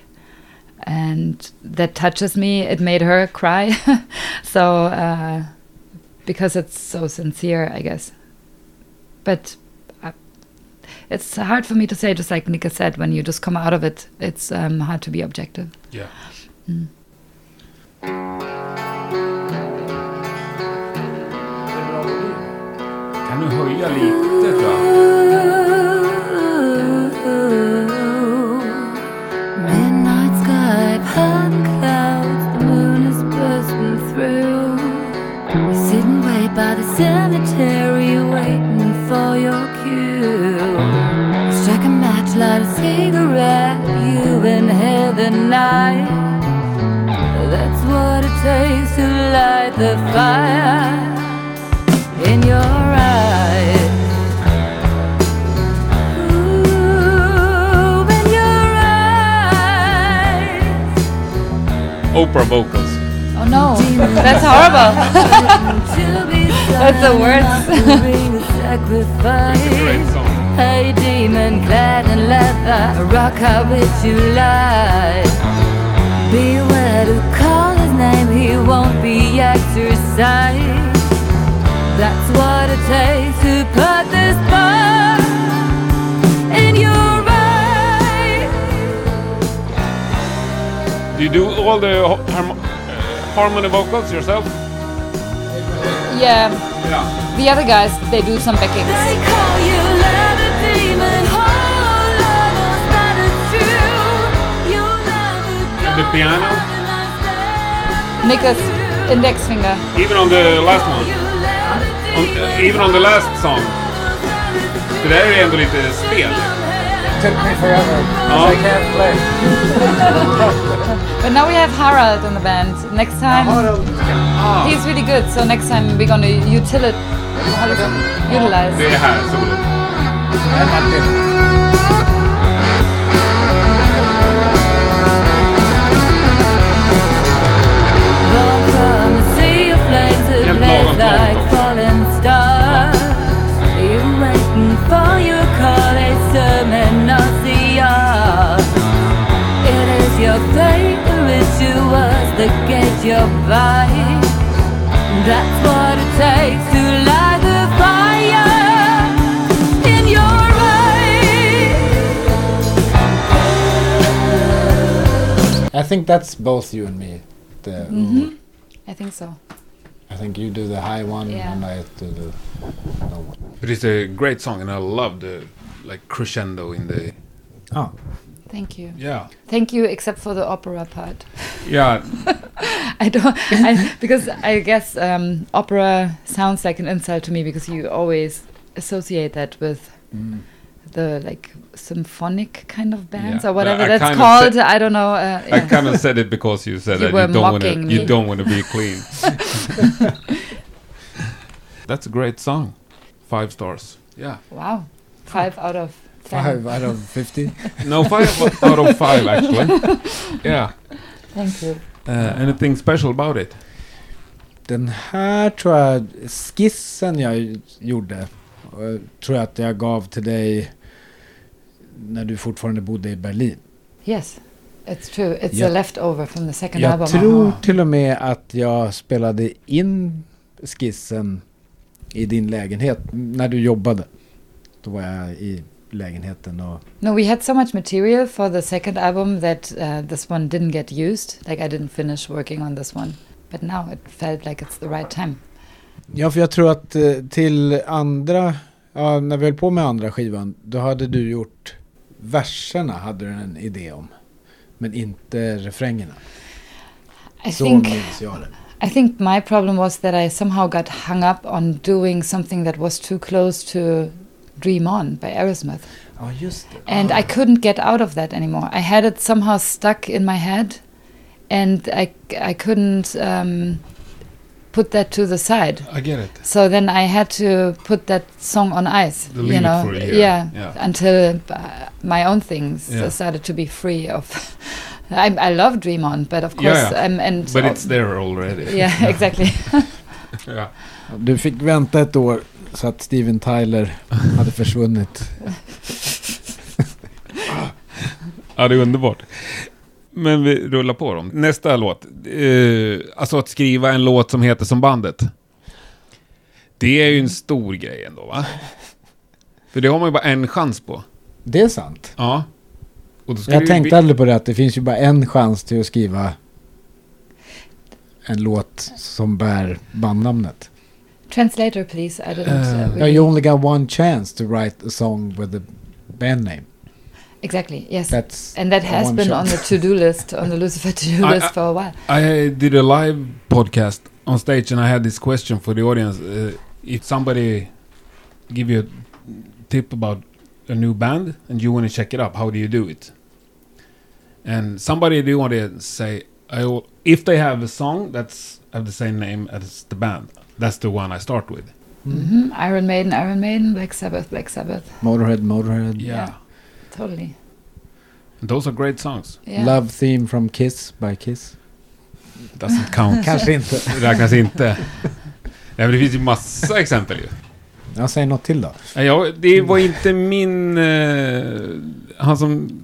[SPEAKER 3] And that touches me. It made her cry. So, uh, because it's so sincere, I guess. But I, it's hard for me to say, just like Nika said, when you just come out of it, it's um, hard to be objective.
[SPEAKER 2] Yeah.
[SPEAKER 5] Kan du höja lite tror jag?
[SPEAKER 4] Midnight sky, piled clouds, the moon is bursting through. Sitting way by the cemetery, waiting for your cue. Strike a match, light a cigarette, you inhale the night. That's what it takes to light the fire in your eyes. Ooh, in your eyes.
[SPEAKER 5] Oprah vocals.
[SPEAKER 3] Oh no, that's horrible.
[SPEAKER 4] That's
[SPEAKER 3] the worst.
[SPEAKER 5] Great
[SPEAKER 4] Sacrifice.
[SPEAKER 5] song.
[SPEAKER 4] Hey, demon clad in leather, a rock out which you lie. Beware to call his name, he won't be exercised. That's what it takes to put this bar in your eyes.
[SPEAKER 5] Do you do all the ho-
[SPEAKER 2] uh,
[SPEAKER 5] harm- eh, harmony vocals yourself?
[SPEAKER 3] yeah,
[SPEAKER 5] Yeah.
[SPEAKER 3] the other guys, they do some backings.
[SPEAKER 4] They call you leather demon, oh, lovers, that is true. You'll never
[SPEAKER 5] And the
[SPEAKER 4] go
[SPEAKER 5] piano?
[SPEAKER 4] another night
[SPEAKER 3] Nika's
[SPEAKER 4] there.
[SPEAKER 3] index finger.
[SPEAKER 5] Even on the last one. On, eh, even on the last song. Det där är ju ändå lite spel.
[SPEAKER 1] Took me forever.
[SPEAKER 5] Ja.
[SPEAKER 1] I can't play.
[SPEAKER 3] But now we have Harald in the band. Next time, he's really good. So next time we're gonna utilize, how do you say?
[SPEAKER 5] Det är
[SPEAKER 3] utilize.
[SPEAKER 5] det här solot. Helt lagom
[SPEAKER 4] Like
[SPEAKER 5] lagom.
[SPEAKER 4] falling stars, you're waiting for your call. A sermon of the hour. It is your favorite jewels that get your vibe. That's what it takes to light the fire in your eyes.
[SPEAKER 1] I think that's both you and me. The,
[SPEAKER 3] I think so.
[SPEAKER 1] I think you do the high one
[SPEAKER 3] Yeah.
[SPEAKER 1] and I do the low one.
[SPEAKER 2] But it's a great song, and I love the like crescendo in the.
[SPEAKER 1] Oh.
[SPEAKER 3] Thank you.
[SPEAKER 2] Yeah.
[SPEAKER 3] Thank you, except for the opera part.
[SPEAKER 2] Yeah.
[SPEAKER 3] I don't I, because I guess um, opera sounds like an insult to me because you always associate that with
[SPEAKER 2] Mm.
[SPEAKER 3] the like symphonic kind of bands
[SPEAKER 2] Yeah,
[SPEAKER 3] or whatever
[SPEAKER 2] I
[SPEAKER 3] that's
[SPEAKER 2] kind of
[SPEAKER 3] called.
[SPEAKER 2] said-
[SPEAKER 3] I don't know. Uh,
[SPEAKER 2] I
[SPEAKER 3] yeah.
[SPEAKER 2] kind of said it because you said
[SPEAKER 3] You
[SPEAKER 2] that
[SPEAKER 3] were
[SPEAKER 2] you don't want to.
[SPEAKER 3] mocking me.
[SPEAKER 2] You don't want to be clean. That's a great song. Five stars. Yeah.
[SPEAKER 3] Wow. Five out of ten.
[SPEAKER 1] Five out of 50.
[SPEAKER 2] No, five out of five actually. Yeah.
[SPEAKER 3] Thank you.
[SPEAKER 2] Uh, anything special about it?
[SPEAKER 1] Den här tror jag, skissen jag gjorde, eh, tror jag att jag gav till dig när du fortfarande bodde i Berlin.
[SPEAKER 3] Yes, it's true. It's
[SPEAKER 1] Ja.
[SPEAKER 3] a leftover from the second
[SPEAKER 1] Jag
[SPEAKER 3] album. Uh-huh.
[SPEAKER 1] tror till och med att jag spelade in skissen i din lägenhet när du jobbade. Då var jag i lägenheten och...
[SPEAKER 3] No, we had so much material for the second album that uh, this one didn't get used. Like I didn't finish working on this one. But now it felt like it's the right time.
[SPEAKER 1] Ja, för jag tror att eh, till andra, ja, när vi höll på med andra skivan, då hade du gjort verserna, hade du en idé om. Men inte refrängerna.
[SPEAKER 3] I
[SPEAKER 1] Så
[SPEAKER 3] think
[SPEAKER 1] minns jag det.
[SPEAKER 3] I think my problem was that I somehow got hung up on doing something that was too close to Dream On by Aerosmith.
[SPEAKER 1] Ja, just det.
[SPEAKER 3] And
[SPEAKER 2] Ah.
[SPEAKER 3] I couldn't get out of that anymore. I had it somehow stuck in my head, and I, I couldn't um, put that to the side.
[SPEAKER 2] I get it.
[SPEAKER 3] So then I had to put that song on ice,
[SPEAKER 2] The
[SPEAKER 3] you
[SPEAKER 2] leave it
[SPEAKER 3] know,
[SPEAKER 2] for a year.
[SPEAKER 3] yeah,
[SPEAKER 2] Yeah.
[SPEAKER 3] until uh, my own things
[SPEAKER 2] Yeah.
[SPEAKER 3] started to be free of. I, I love Dream On, but
[SPEAKER 2] Yeah,
[SPEAKER 3] of course,
[SPEAKER 2] yeah.
[SPEAKER 3] Um, and
[SPEAKER 2] But it's there already.
[SPEAKER 3] yeah, exactly.
[SPEAKER 2] Yeah.
[SPEAKER 1] Du fick vänta ett år så att Steven Tyler hade försvunnit.
[SPEAKER 2] Ja, det är underbart. Men vi rullar på dem. Nästa låt. Eh, alltså att skriva en låt som heter som bandet. Det är ju en stor grej ändå, va? För det har man ju bara en chans på.
[SPEAKER 1] Det är sant.
[SPEAKER 2] Ja. Och då ska
[SPEAKER 1] Jag
[SPEAKER 2] du-
[SPEAKER 1] tänkte aldrig på det att det finns ju bara en chans till att skriva en låt som bär bandnamnet.
[SPEAKER 3] Translator, please. I didn't.
[SPEAKER 2] Uh,
[SPEAKER 3] Uh,
[SPEAKER 1] Ja,
[SPEAKER 3] really-
[SPEAKER 1] You only got one chance to write a song with a band name.
[SPEAKER 3] exactly. Yes.
[SPEAKER 1] That's
[SPEAKER 3] and that has
[SPEAKER 1] one
[SPEAKER 3] been
[SPEAKER 1] shot.
[SPEAKER 3] on the to-do list, on the Lucifer to-do
[SPEAKER 2] I-
[SPEAKER 3] list
[SPEAKER 2] I-
[SPEAKER 3] for a while.
[SPEAKER 2] I did a live podcast on stage and I had this question for the audience. Uh, if somebody give you a tip about a new band and you want to check it up, how do you do it? And somebody do want to say, I will, if they have a song that's have the same name as the band, that's the one I start with.
[SPEAKER 3] hmm Iron Maiden, Iron Maiden, Black Sabbath, Black Sabbath.
[SPEAKER 1] Motorhead, Motorhead.
[SPEAKER 3] Yeah. Totally.
[SPEAKER 2] Those are great songs.
[SPEAKER 3] Yeah.
[SPEAKER 1] Love theme from Kiss by Kiss.
[SPEAKER 2] Doesn't
[SPEAKER 3] Alltså-
[SPEAKER 2] count.
[SPEAKER 1] Kanske inte.
[SPEAKER 2] Räknas inte. Nej, men det finns ju massa exempel ju.
[SPEAKER 1] Jag säger något till då.
[SPEAKER 2] Nej, Jag, det var inte min... Eh, han som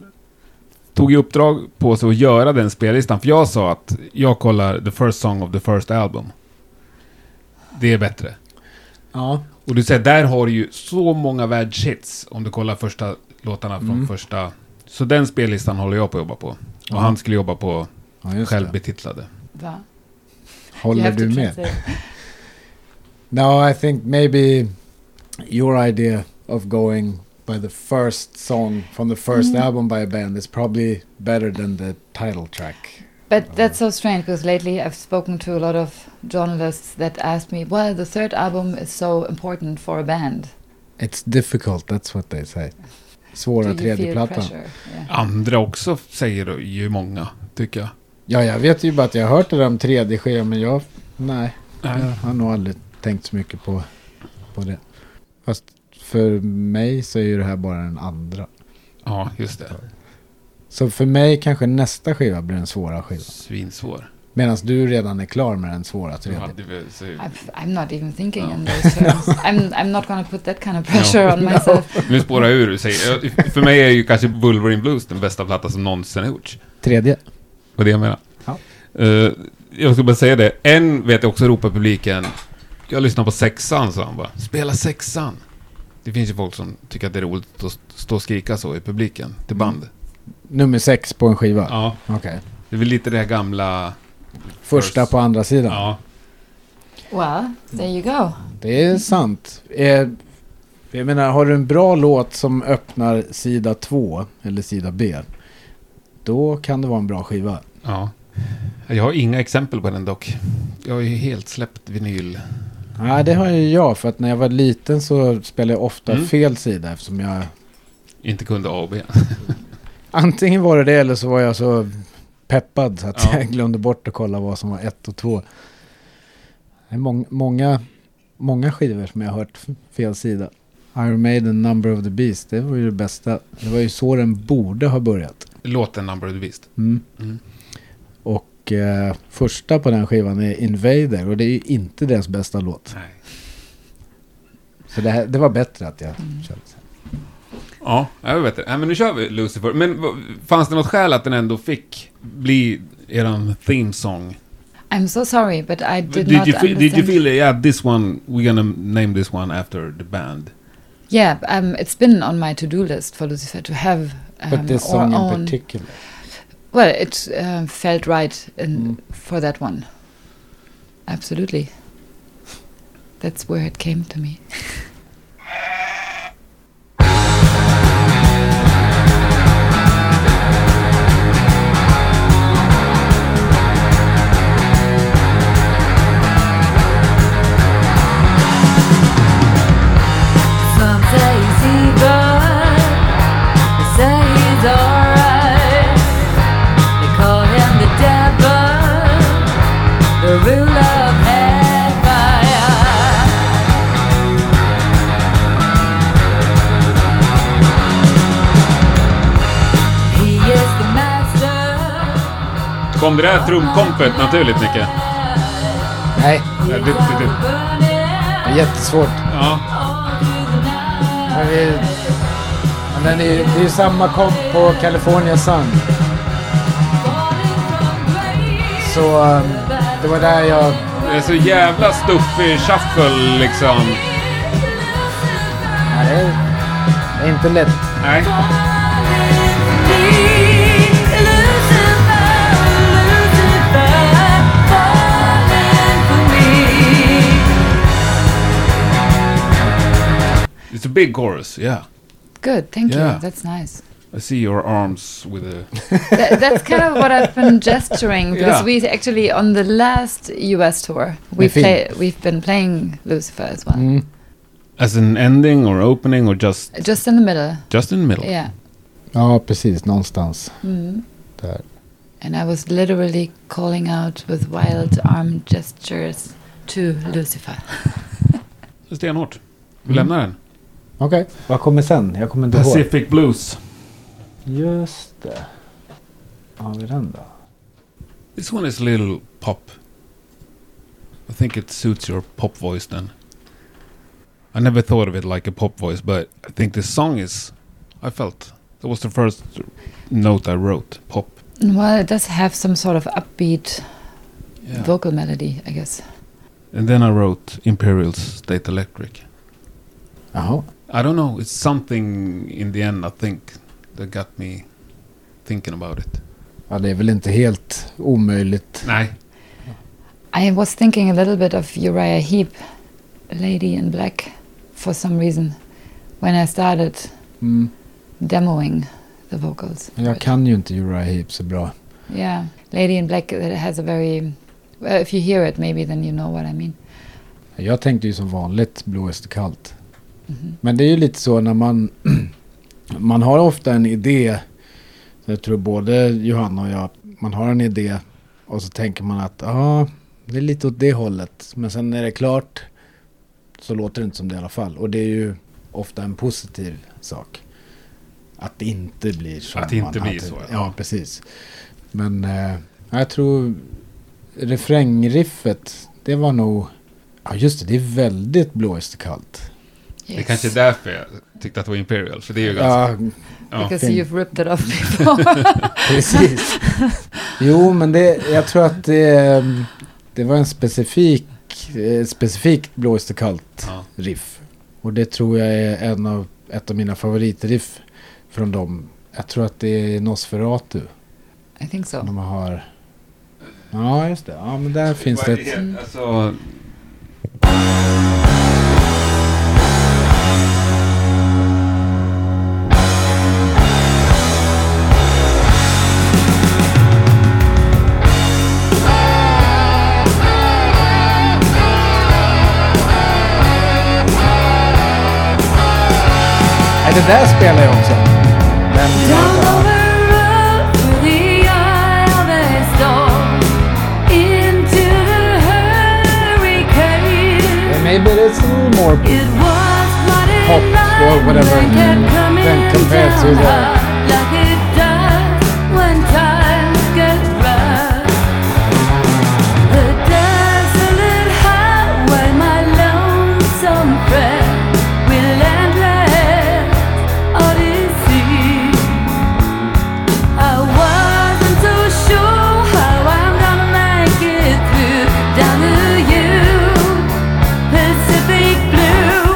[SPEAKER 2] tog i uppdrag på sig att göra den spellistan. För jag sa att jag kollar the first song of the first album. Det är bättre.
[SPEAKER 1] Ja.
[SPEAKER 2] Och du säger, där har du ju så många världshits om du kollar första låtarna från
[SPEAKER 1] Mm.
[SPEAKER 2] första... Så den spellistan håller jag på att jobba på. Och
[SPEAKER 1] Ja.
[SPEAKER 2] han skulle jobba på
[SPEAKER 1] ja just det.
[SPEAKER 2] självbetitlade.
[SPEAKER 3] Wow. You
[SPEAKER 1] Håller
[SPEAKER 3] have
[SPEAKER 1] du
[SPEAKER 3] to
[SPEAKER 1] med?
[SPEAKER 3] translate.
[SPEAKER 1] No, I think maybe your idea of going by the first song from the first album by a band is probably better than the title track.
[SPEAKER 3] But that's so strange because lately I've spoken to a lot of journalists that ask me, well, the third album is so important for a band.
[SPEAKER 1] It's difficult, that's what they say. Svåra
[SPEAKER 3] Do you feel
[SPEAKER 1] tredjeplattan.
[SPEAKER 3] pressure? Yeah.
[SPEAKER 2] Andra också säger ju många, tycker jag.
[SPEAKER 1] Ja, jag vet ju bara att jag har hört det där om tredje skivan, men jag... Nej, jag
[SPEAKER 2] Nej.
[SPEAKER 1] har nog aldrig tänkt så mycket på, på det. Fast för mig så är ju det här bara den andra.
[SPEAKER 2] Ja, just det.
[SPEAKER 1] Så för mig kanske nästa skiva blir den svåra skivan.
[SPEAKER 2] Svinsvår.
[SPEAKER 1] Medan du redan är klar med den svåra
[SPEAKER 2] Så
[SPEAKER 1] tredje.
[SPEAKER 2] hade vi, så...
[SPEAKER 3] I've, I'm not even thinking
[SPEAKER 2] No.
[SPEAKER 3] in those terms. I'm, I'm not going to put that kind of pressure on myself.
[SPEAKER 2] Nu spårar jag ur. Säger, för mig är ju kanske Wolverine Blues den bästa platta som någonsin har gjorts.
[SPEAKER 1] Tredje.
[SPEAKER 2] Vad det jag menar.
[SPEAKER 1] Ja.
[SPEAKER 2] Eh, jag skulle bara säga det. En vet jag också ropar publiken. Jag lyssnar på sexan, sa han bara. Spela sexan. Det finns ju folk som tycker att det är roligt att stå och skrika så i publiken till band.
[SPEAKER 1] Nummer sex på en skiva?
[SPEAKER 2] Ja,
[SPEAKER 1] Okej.
[SPEAKER 2] det är väl lite det här gamla...
[SPEAKER 1] Första
[SPEAKER 2] First.
[SPEAKER 1] på andra sidan?
[SPEAKER 2] Ja.
[SPEAKER 3] well, there you go.
[SPEAKER 1] Det är sant. Eh, Jag menar, har du en bra låt som öppnar sida två, eller sida B, då kan det vara en bra skiva.
[SPEAKER 2] ja. Jag har inga exempel på den dock. Jag har ju helt släppt vinyl.
[SPEAKER 1] Nej, det har ju jag. För att när jag var liten så spelade jag ofta
[SPEAKER 2] Mm.
[SPEAKER 1] fel sida eftersom jag...
[SPEAKER 2] Inte kunde A och B.
[SPEAKER 1] Antingen var det det eller så var jag så peppad så att
[SPEAKER 2] Ja.
[SPEAKER 1] jag glömde bort att kolla vad som var ett och två. Det är mång- många många skivor som jag har hört f- fel sida. Iron Maiden, Number of the Beast, det var ju det bästa. Det var ju så den borde ha börjat.
[SPEAKER 2] Låten Number of the Beast.
[SPEAKER 1] Mm.
[SPEAKER 2] Mm.
[SPEAKER 1] Och eh, första på den skivan är Invader och det är ju inte deras bästa låt.
[SPEAKER 2] Nej.
[SPEAKER 1] Så det, här, det var bättre att jag kände så.
[SPEAKER 2] Ja, jag vet det. Nej, men nu kör vi Lucifer. Men vad- fanns det något skäl att den ändå fick bli eran theme song?
[SPEAKER 3] I'm so sorry, but I did,
[SPEAKER 2] you
[SPEAKER 3] not
[SPEAKER 2] feel,
[SPEAKER 3] understand.
[SPEAKER 2] did you feel, yeah, this one, we're gonna name this one after the band?
[SPEAKER 3] Yeah, um, it's been on my to-do list for Lucifer to have um,
[SPEAKER 1] But this
[SPEAKER 3] or
[SPEAKER 1] song in
[SPEAKER 3] own.
[SPEAKER 1] particular.
[SPEAKER 3] Well, it um, felt right in,
[SPEAKER 1] Mm.
[SPEAKER 3] for that one. Absolutely. That's where it came to me.
[SPEAKER 4] Some say he's evil. They say he's alright. They call him the devil, the ruler of hellfire. He is the master.
[SPEAKER 5] Kom det där trumkompet naturligt, Nicke?
[SPEAKER 1] Nej,
[SPEAKER 5] Ja, du- du- du.
[SPEAKER 1] det är jättesvårt.
[SPEAKER 5] Ja.
[SPEAKER 1] Men det är, men den är, det är samma komp på California Sun. Så um, det var där jag...
[SPEAKER 5] Det är så jävla stuffig shuffle liksom.
[SPEAKER 1] Nej, det är- det är inte lätt.
[SPEAKER 5] Nej.
[SPEAKER 2] It's a big chorus, yeah.
[SPEAKER 3] Good, thank
[SPEAKER 2] Yeah.
[SPEAKER 3] you. That's nice.
[SPEAKER 2] I see your arms with a...
[SPEAKER 3] Tha- that's kind of what I've been gesturing because
[SPEAKER 2] Yeah.
[SPEAKER 3] we actually on the last US tour we
[SPEAKER 1] With him.
[SPEAKER 3] play we've been playing Lucifer as well,
[SPEAKER 1] Mm.
[SPEAKER 2] As an ending or opening or just,
[SPEAKER 3] just in the middle.
[SPEAKER 2] just in the middle?
[SPEAKER 3] Yeah,
[SPEAKER 1] Ja, precis. Någonstans där.
[SPEAKER 3] and I was literally calling out with wild arm gestures to Lucifer.
[SPEAKER 2] Stenhårt. Vi lämnar den.
[SPEAKER 1] Okej. Vad kommer sen? Jag kommer inte ihåg.
[SPEAKER 2] Pacific Blues.
[SPEAKER 1] Just det. Har vi den då?
[SPEAKER 2] This one is a little pop. I think it suits your pop voice then. I never thought of it like a pop voice, but I think this song is. I felt that was the first note I wrote. Pop.
[SPEAKER 3] Well, it does have some sort of upbeat vocal melody, I guess.
[SPEAKER 2] And then I wrote Imperial State Electric.
[SPEAKER 1] Jaha.
[SPEAKER 2] I don't know. It's something in the end. I think that got me thinking about it.
[SPEAKER 1] Ja, det är väl inte helt omöjligt.
[SPEAKER 2] Nej.
[SPEAKER 3] I was thinking a little bit of Uriah Heep, Lady in Black, for some reason, when I started
[SPEAKER 1] Mm.
[SPEAKER 3] demoing the vocals.
[SPEAKER 1] Men Jag kan ju inte Uriah Heep så bra.
[SPEAKER 3] Yeah, Lady in Black that has a very. Well, if you hear it, maybe then you know what I mean.
[SPEAKER 1] Jag tänkte ju som vanligt blåst och kallt. Men det är ju lite så när man... man har ofta en idé. Jag tror både Johanna och jag. Man har en idé och så tänker man att ja, det är lite åt det hållet. Men sen när det är klart så låter det inte som det i alla fall. Och det är ju ofta en positiv sak. Att det inte blir så.
[SPEAKER 2] Att det inte blir så,
[SPEAKER 1] Ja,
[SPEAKER 2] ja.
[SPEAKER 1] ja precis. Men eh, jag tror refrängriffet, det var nog... Ja, just det. Det är väldigt blåösterkallt.
[SPEAKER 2] Det kanske är därför jag tyckte att det var Imperial. För det är ju ganska...
[SPEAKER 1] Ja,
[SPEAKER 2] ja.
[SPEAKER 3] because
[SPEAKER 1] thing.
[SPEAKER 3] you've ripped it off before.
[SPEAKER 1] precis. Jo, men det, jag tror att det, det var en specifik, eh, specifikt blåösterkallt
[SPEAKER 2] Ja.
[SPEAKER 1] riff. Och det tror jag är en av, ett av mina favoritriff från dem. Jag tror att det är Nosferatu.
[SPEAKER 3] I think so.
[SPEAKER 1] De har... Ja, just det. Ja, men där finns det
[SPEAKER 2] Vad är
[SPEAKER 1] ett...
[SPEAKER 2] det? Alltså,
[SPEAKER 1] Nej, det där spelar jag också. Men,
[SPEAKER 4] Into the hurricane
[SPEAKER 1] maybe it's or
[SPEAKER 4] Pop
[SPEAKER 1] Pop or whatever. Then compared to the-
[SPEAKER 4] Down to you, Pacific blue.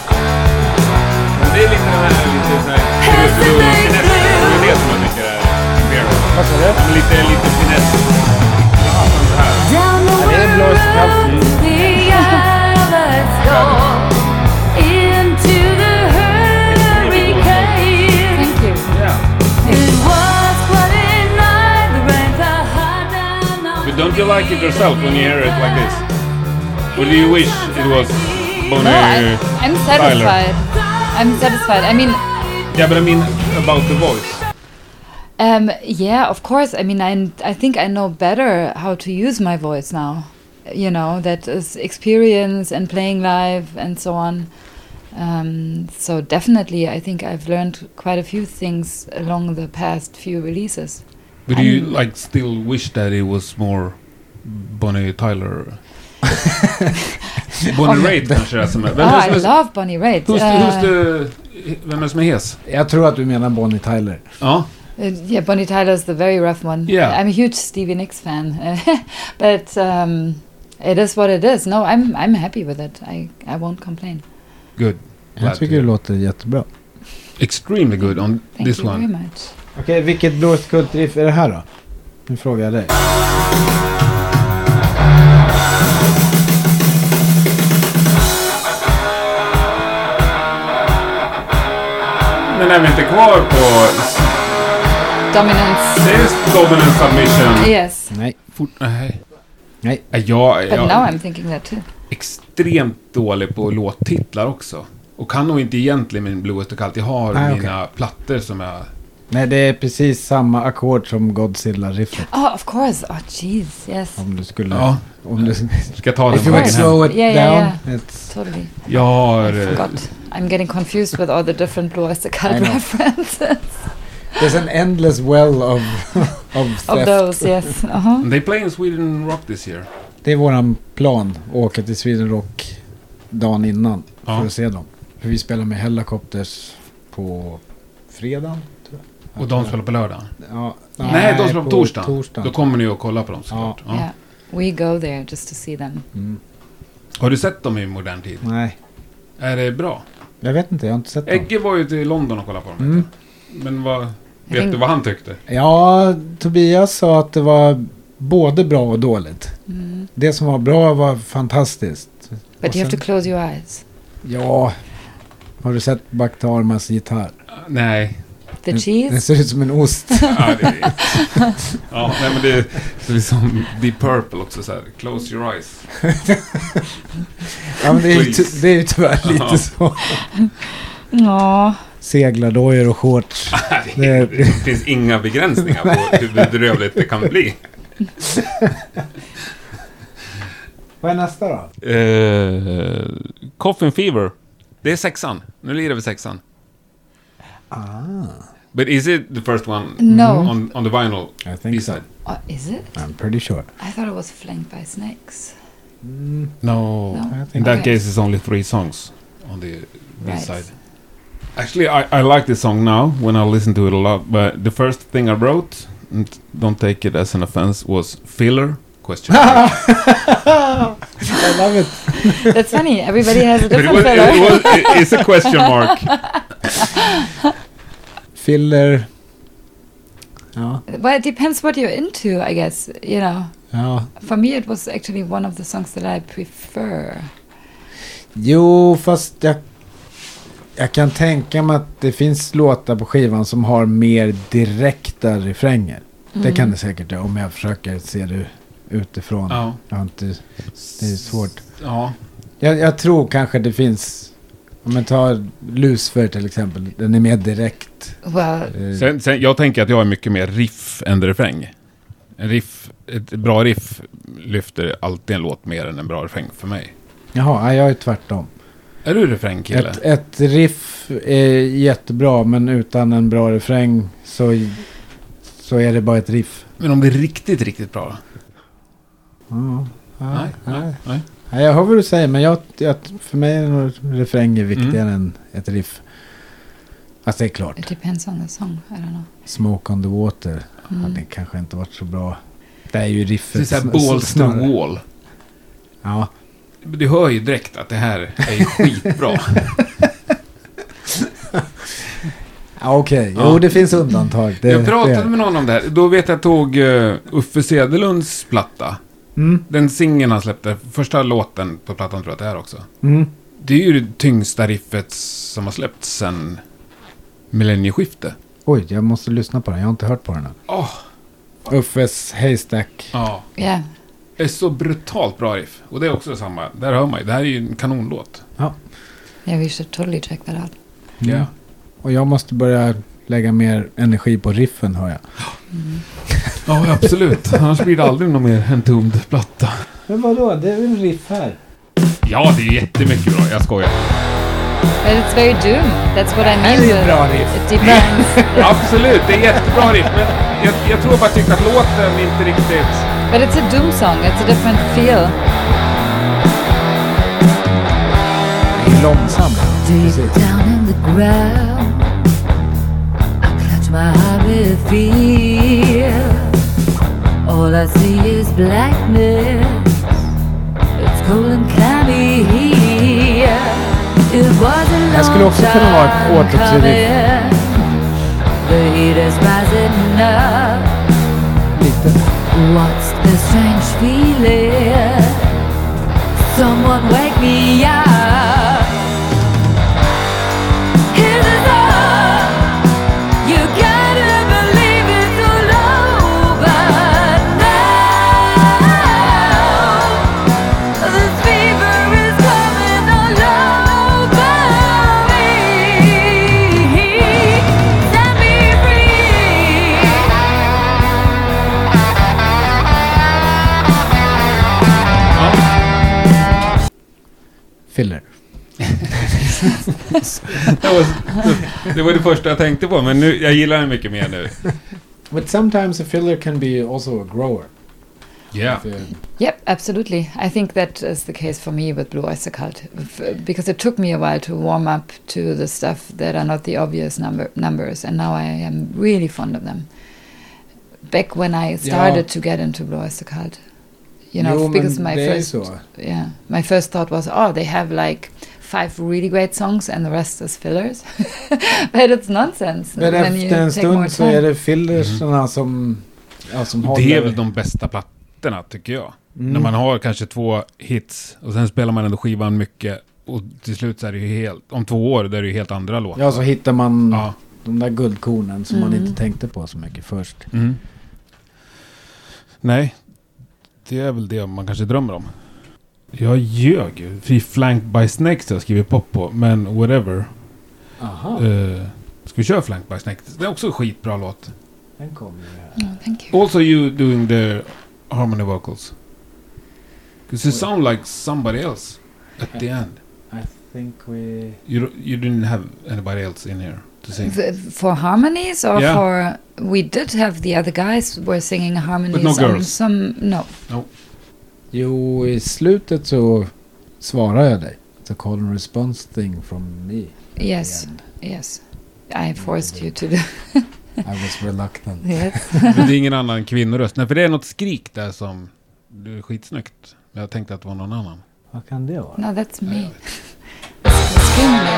[SPEAKER 5] Det är lite den här, lite så här... finess. Det är det som jag tycker är... mer-
[SPEAKER 1] Vad sa du?
[SPEAKER 5] Lite, lite finess.
[SPEAKER 4] Down the
[SPEAKER 1] det är blå kaffe.
[SPEAKER 4] world, the eye of a storm, into the hurricane.
[SPEAKER 3] Thank you.
[SPEAKER 4] It was what it might, the rain fell hard down on
[SPEAKER 5] But don't you like it yourself when you hear it like this? Or do you wish it was
[SPEAKER 3] No,
[SPEAKER 5] Bonnie...
[SPEAKER 3] I'm, I'm satisfied. I'm satisfied. I mean,
[SPEAKER 5] Yeah, but I mean about the voice.
[SPEAKER 3] Um, yeah, of course. I mean, I, I think I know better how to use my voice now. You know, that is experience and playing live and so on. Um, so definitely, I think I've learned quite a few things along the past few releases.
[SPEAKER 2] But do you like still wish that it was more Bonnie Tyler? Bonnie Raitt kanske det är som är.
[SPEAKER 3] oh,
[SPEAKER 2] Vem
[SPEAKER 3] I
[SPEAKER 2] är som är-
[SPEAKER 3] love Bonnie Raitt.
[SPEAKER 2] who's, who's
[SPEAKER 3] Uh,
[SPEAKER 2] the, vem är det som är hes?
[SPEAKER 1] Jag tror att du menar Bonnie Tyler.
[SPEAKER 2] Ja,
[SPEAKER 3] uh, yeah, Bonnie Tyler's the very rough one.
[SPEAKER 2] Yeah.
[SPEAKER 3] I'm a huge Stevie Nicks fan, but um, it is what it is. No, I'm I'm happy with it. I I won't complain.
[SPEAKER 2] good.
[SPEAKER 1] Jag tycker det låter jättebra.
[SPEAKER 2] Extremely good on
[SPEAKER 3] Thank
[SPEAKER 2] this
[SPEAKER 3] you very
[SPEAKER 2] one.
[SPEAKER 3] much.
[SPEAKER 1] Okej, vilket blåskultriff är det här då? Nu frågar jag dig.
[SPEAKER 5] Men är vi inte kvar på
[SPEAKER 3] Dominance.
[SPEAKER 5] sales dominant submission?
[SPEAKER 3] Yes,
[SPEAKER 1] Nej.
[SPEAKER 2] Fort, nej.
[SPEAKER 1] Nej.
[SPEAKER 2] Ja, Jag,
[SPEAKER 3] but
[SPEAKER 2] jag
[SPEAKER 3] now I'm
[SPEAKER 2] är
[SPEAKER 3] thinking that too.
[SPEAKER 2] extremt dålig på låttitlar också. Och kan nog inte egentligen min Blue Öster Kallt. Jag har
[SPEAKER 1] Nej,
[SPEAKER 2] mina plattor som jag...
[SPEAKER 1] Nej, det är precis samma ackord som Godzilla-riffet.
[SPEAKER 3] Oh, of course. Oh, jeez. Yes,
[SPEAKER 1] Om du skulle...
[SPEAKER 2] Ja,
[SPEAKER 1] Om du,
[SPEAKER 2] ska jag ta den
[SPEAKER 1] if
[SPEAKER 2] på
[SPEAKER 1] you would
[SPEAKER 2] vägen hem.
[SPEAKER 1] slow it
[SPEAKER 3] Ja, ja,
[SPEAKER 1] down.
[SPEAKER 3] ja.
[SPEAKER 1] It's,
[SPEAKER 3] totally.
[SPEAKER 2] Jag har...
[SPEAKER 3] I
[SPEAKER 2] eh,
[SPEAKER 3] forgot. I'm getting confused with all the different Blue Oyster
[SPEAKER 1] I
[SPEAKER 3] Cult
[SPEAKER 1] know.
[SPEAKER 3] references
[SPEAKER 1] there's an endless well of, of
[SPEAKER 3] of
[SPEAKER 1] theft.
[SPEAKER 3] those. Yes. Uh-huh.
[SPEAKER 2] eh, They play in Sweden Rock this year.
[SPEAKER 1] Det är våran plan. Att åka till Sweden Rock dagen innan. För
[SPEAKER 2] Ja.
[SPEAKER 1] att se dem. För vi spelar med Hellacopters på fredag. tror jag.
[SPEAKER 2] Och de spelar på lördagen.
[SPEAKER 1] Ja,
[SPEAKER 3] Nej,
[SPEAKER 2] Nej, de spelar på torsdagen.
[SPEAKER 1] torsdagen.
[SPEAKER 2] Då kommer ni och kollar på dem såklart. Ja.
[SPEAKER 3] Yeah, we go there just to see them.
[SPEAKER 1] Mm.
[SPEAKER 2] Har du sett dem i modern tid?
[SPEAKER 1] Nej,
[SPEAKER 2] Är det bra?
[SPEAKER 1] jag vet inte. Jag har inte sett dem.
[SPEAKER 2] Egge var ju till London och kollade på dem. vet
[SPEAKER 1] Mm.
[SPEAKER 2] jag. Men vad...
[SPEAKER 3] Jag
[SPEAKER 2] Vet
[SPEAKER 3] tänk-
[SPEAKER 2] du vad han tyckte?
[SPEAKER 1] Ja, Tobias sa att det var både bra och dåligt.
[SPEAKER 3] Mm.
[SPEAKER 1] Det som var bra var fantastiskt.
[SPEAKER 3] But
[SPEAKER 1] Och
[SPEAKER 3] you have to
[SPEAKER 1] sen-
[SPEAKER 3] close your eyes.
[SPEAKER 1] Ja, har du sett Bakhtarmas gitarr?
[SPEAKER 2] Ah, Nej.
[SPEAKER 3] The
[SPEAKER 1] Den- Den
[SPEAKER 3] cheese.
[SPEAKER 1] ser ut som en ost.
[SPEAKER 2] Ja, det är... ja, nej men det är så det är som Deep Purple också så här. Close your eyes.
[SPEAKER 1] Ja, men det, är ju ty-
[SPEAKER 2] Please.
[SPEAKER 1] det är ju tyvärr
[SPEAKER 2] Ja.
[SPEAKER 1] lite så.
[SPEAKER 3] No.
[SPEAKER 1] Seglardojor och shorts.
[SPEAKER 2] Det,
[SPEAKER 1] Det-
[SPEAKER 2] finns inga begränsningar på hur bedrövligt det kan bli.
[SPEAKER 1] Vad är nästa då?
[SPEAKER 2] Eh, Coffin Fever. Det är sexan. Nu lirar vi sexan.
[SPEAKER 1] Ah,
[SPEAKER 2] But is it the first one
[SPEAKER 3] No.
[SPEAKER 2] on, on the vinyl?
[SPEAKER 1] I think so.
[SPEAKER 2] B-side?
[SPEAKER 3] Oh, is it?
[SPEAKER 1] I'm pretty sure.
[SPEAKER 3] I thought it was flanked by snakes.
[SPEAKER 2] No.
[SPEAKER 3] No.
[SPEAKER 1] Mm, I
[SPEAKER 2] In
[SPEAKER 1] think
[SPEAKER 2] that
[SPEAKER 3] Okay.
[SPEAKER 2] case, it's only three songs on the B
[SPEAKER 3] Right.
[SPEAKER 2] side. Actually, I, I like this song now when I listen to it a lot. But the first thing I wrote, and don't take it as an offense, was filler question. mark.
[SPEAKER 1] I love it.
[SPEAKER 3] That's funny. Everybody has a
[SPEAKER 2] but it
[SPEAKER 3] different
[SPEAKER 2] was, it,
[SPEAKER 3] filler.
[SPEAKER 2] was, it- it's a question mark.
[SPEAKER 1] Filler. Ja,
[SPEAKER 3] Well, it depends what you're into, I guess. You know,
[SPEAKER 1] ja.
[SPEAKER 3] for me, it was actually one of the songs that I prefer.
[SPEAKER 1] Jo, fast jag... Jag kan tänka mig att det finns låtar på skivan som har mer direkta refränger.
[SPEAKER 3] Mm.
[SPEAKER 1] Det kan det säkert göra om jag försöker se det utifrån.
[SPEAKER 2] Ja.
[SPEAKER 1] Jag, har inte, Det är svårt.
[SPEAKER 2] Ja.
[SPEAKER 1] jag, jag tror kanske det finns... Om man tar Lucifer till exempel. Den är mer direkt.
[SPEAKER 3] Mm. Well,
[SPEAKER 1] eh,
[SPEAKER 2] Sen, sen, jag tänker att jag är mycket mer riff än refräng. En riff, ett bra riff lyfter alltid en låt mer än en bra refräng för mig.
[SPEAKER 1] Jaha, nej, jag är tvärtom.
[SPEAKER 2] Är du refrängkille?
[SPEAKER 1] Ett, ett riff är jättebra men utan en bra refräng så, så är det bara ett riff.
[SPEAKER 2] Men om det är riktigt, riktigt bra?
[SPEAKER 1] Ja, ja,
[SPEAKER 2] Nej, nej, nej.
[SPEAKER 1] Nej, jag hör vad du säger, men jag, jag, för mig är nog
[SPEAKER 2] Mm.
[SPEAKER 1] refrängen viktigare än ett riff. Fast det är
[SPEAKER 3] it
[SPEAKER 1] klart,
[SPEAKER 3] depends on the song. I don't know.
[SPEAKER 1] Smoke on the Water hade
[SPEAKER 3] Mm.
[SPEAKER 1] kanske inte varit så bra. Det är ju riffet.
[SPEAKER 2] Det är såhär
[SPEAKER 1] sn-
[SPEAKER 2] balls to
[SPEAKER 1] snarare.
[SPEAKER 2] wall.
[SPEAKER 1] Ja,
[SPEAKER 2] Du hör ju direkt att det här är ju skitbra.
[SPEAKER 1] ja okej.
[SPEAKER 2] Ja.
[SPEAKER 1] Jo, det finns undantag. Det,
[SPEAKER 2] jag pratade
[SPEAKER 1] det.
[SPEAKER 2] med någon om det här. Då vet jag tog eh, Uffe Söderlunds platta.
[SPEAKER 1] Mm,
[SPEAKER 2] Den singeln han släppte, första låten på plattan tror jag att det är också.
[SPEAKER 1] mm.
[SPEAKER 2] Det är ju det tyngsta riffet som har släppts sen millennieskiftet.
[SPEAKER 1] Oj, jag måste lyssna på den. Jag har inte hört på den än.
[SPEAKER 2] Åh,
[SPEAKER 1] Uffes Haystack.
[SPEAKER 2] ja.
[SPEAKER 3] Mm. Yeah.
[SPEAKER 2] Det är så brutalt bra riff. Och det är också samma. Där hör man ju. Det här är ju en kanonlåt.
[SPEAKER 3] Yeah, we should totally check that out.
[SPEAKER 1] Mm.
[SPEAKER 2] Ja.
[SPEAKER 1] Och jag måste börja lägga mer energi på riffen, hör jag.
[SPEAKER 2] Ja, absolut. Annars blir det aldrig någon mer en tomd platta.
[SPEAKER 1] Men vadå? Det är väl riff här?
[SPEAKER 2] Ja, det är jättemycket bra. Jag skojar.
[SPEAKER 3] But it's very doom. That's what I mean.
[SPEAKER 1] Det är ju
[SPEAKER 3] with-
[SPEAKER 1] bra riff.
[SPEAKER 3] It depends.
[SPEAKER 2] Absolut, det är jättebra riff. Men jag, jag tror bara jag tyckte att låten inte riktigt...
[SPEAKER 3] but it's a doom song. It's a different feel.
[SPEAKER 1] Det är långsamt.
[SPEAKER 4] Deep
[SPEAKER 1] Precis.
[SPEAKER 4] down in the ground, I clutch my heart with fear. All I see is blackness. It's cold and clammy here. It was a
[SPEAKER 1] Här skulle
[SPEAKER 4] long
[SPEAKER 1] också kunna vara ett
[SPEAKER 4] time
[SPEAKER 1] återuppriv.
[SPEAKER 4] coming. The heat is rising up.
[SPEAKER 1] Lite.
[SPEAKER 4] What's the strange feeling? Someone wake me up. Here's a song. You gotta believe it's all over now. This fever is coming all over me. Set me free.
[SPEAKER 1] Filler.
[SPEAKER 2] Det var, det var det första jag tänkte på, men nu, jag gillar den mycket mer nu.
[SPEAKER 1] But sometimes a filler can be also a grower.
[SPEAKER 2] Ja.
[SPEAKER 1] If you-
[SPEAKER 3] Yep, absolutely. I think that is the case for me with Blue Oyster Cult f- because it took me a while to warm up to the stuff that are not the obvious number numbers, and now I am really fond of them. Back when I started to get into Blue Oyster Cult, you know,
[SPEAKER 1] Jo,
[SPEAKER 3] f- because
[SPEAKER 1] men
[SPEAKER 3] my
[SPEAKER 1] det är ju
[SPEAKER 3] first
[SPEAKER 1] så.
[SPEAKER 3] yeah, my first thought was, oh, they have like five really great songs and the rest is fillers, but it's nonsense.
[SPEAKER 1] Men
[SPEAKER 3] Then you
[SPEAKER 1] efter en
[SPEAKER 3] take more
[SPEAKER 1] stund så
[SPEAKER 3] time.
[SPEAKER 1] är det fillerserna som, ja, som håller.
[SPEAKER 2] Mm. Det är väl de bästa plattorna, tycker jag.
[SPEAKER 1] Mm.
[SPEAKER 2] När man har kanske två hits och sen spelar man ändå skivan mycket och till slut så är det ju helt... Om två år, då är det ju helt andra låtar.
[SPEAKER 1] Ja, så hittar man
[SPEAKER 2] Ja.
[SPEAKER 1] de där guldkornen som man
[SPEAKER 3] Mm.
[SPEAKER 1] inte tänkte på så mycket först.
[SPEAKER 2] Mm. Nej, det är väl det man kanske drömmer om. Jag ljög ju. Free Flank by Snakes har jag skrivit pop på, men whatever.
[SPEAKER 1] Aha,
[SPEAKER 2] Eh, ska vi köra Flank by Snakes? Det är också en skitbra låt.
[SPEAKER 1] den kom ju här.
[SPEAKER 3] Oh, thank you.
[SPEAKER 2] Also you doing the harmony vocals. 'Cause it sound like somebody else at the end.
[SPEAKER 1] I think we...
[SPEAKER 2] You, you didn't have anybody else in here to sing.
[SPEAKER 3] Th- for harmonies or
[SPEAKER 2] Yeah.
[SPEAKER 3] for we did have the other guys were singing harmonies
[SPEAKER 2] no
[SPEAKER 3] on
[SPEAKER 2] girls.
[SPEAKER 3] some no
[SPEAKER 1] Jo, i slutet så svarar jag dig. It's a call and response thing from me.
[SPEAKER 3] yes
[SPEAKER 1] And
[SPEAKER 3] yes I forced you to do
[SPEAKER 1] I was reluctant.
[SPEAKER 3] yes
[SPEAKER 2] Men det är ingen annan kvinnoröst. Nej, för det är något skrik där som... Det är skitsnyggt. Men jag tänkte att det var någon annan.
[SPEAKER 1] Vad kan det vara?
[SPEAKER 3] no that's me Scream me.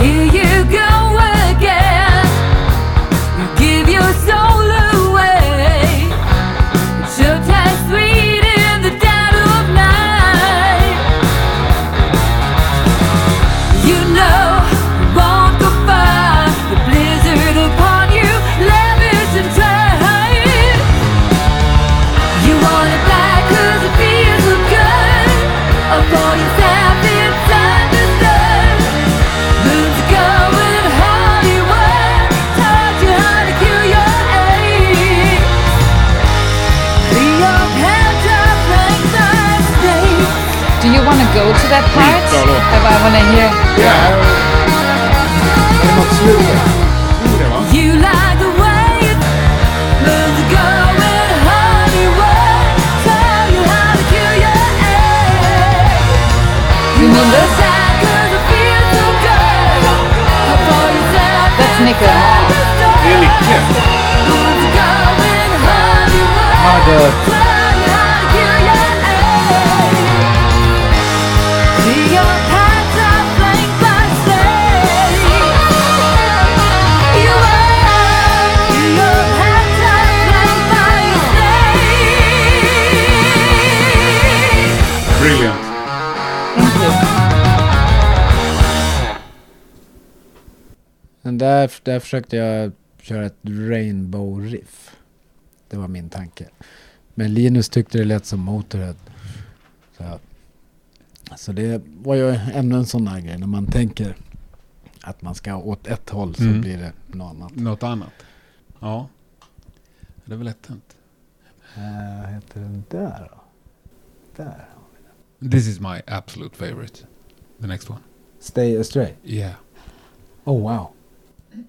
[SPEAKER 4] Here you go
[SPEAKER 3] Nicke.
[SPEAKER 5] Det är Nicke.
[SPEAKER 1] Mother.
[SPEAKER 5] Brilliant.
[SPEAKER 1] Men där, där försökte jag köra ett rainbow riff. Det var min tanke. Men Linus tyckte det lät som Motörhead. Så, så det var ju ännu en sån här grej. När man tänker att man ska åt ett håll så
[SPEAKER 2] Mm.
[SPEAKER 1] blir det något annat.
[SPEAKER 2] Något annat. Ja. Det är väl lätt hänt.
[SPEAKER 1] Eh, Vad heter den där då? Där.
[SPEAKER 2] This is my absolute favorite. The next one.
[SPEAKER 1] Stay astray.
[SPEAKER 2] Yeah.
[SPEAKER 1] Oh wow.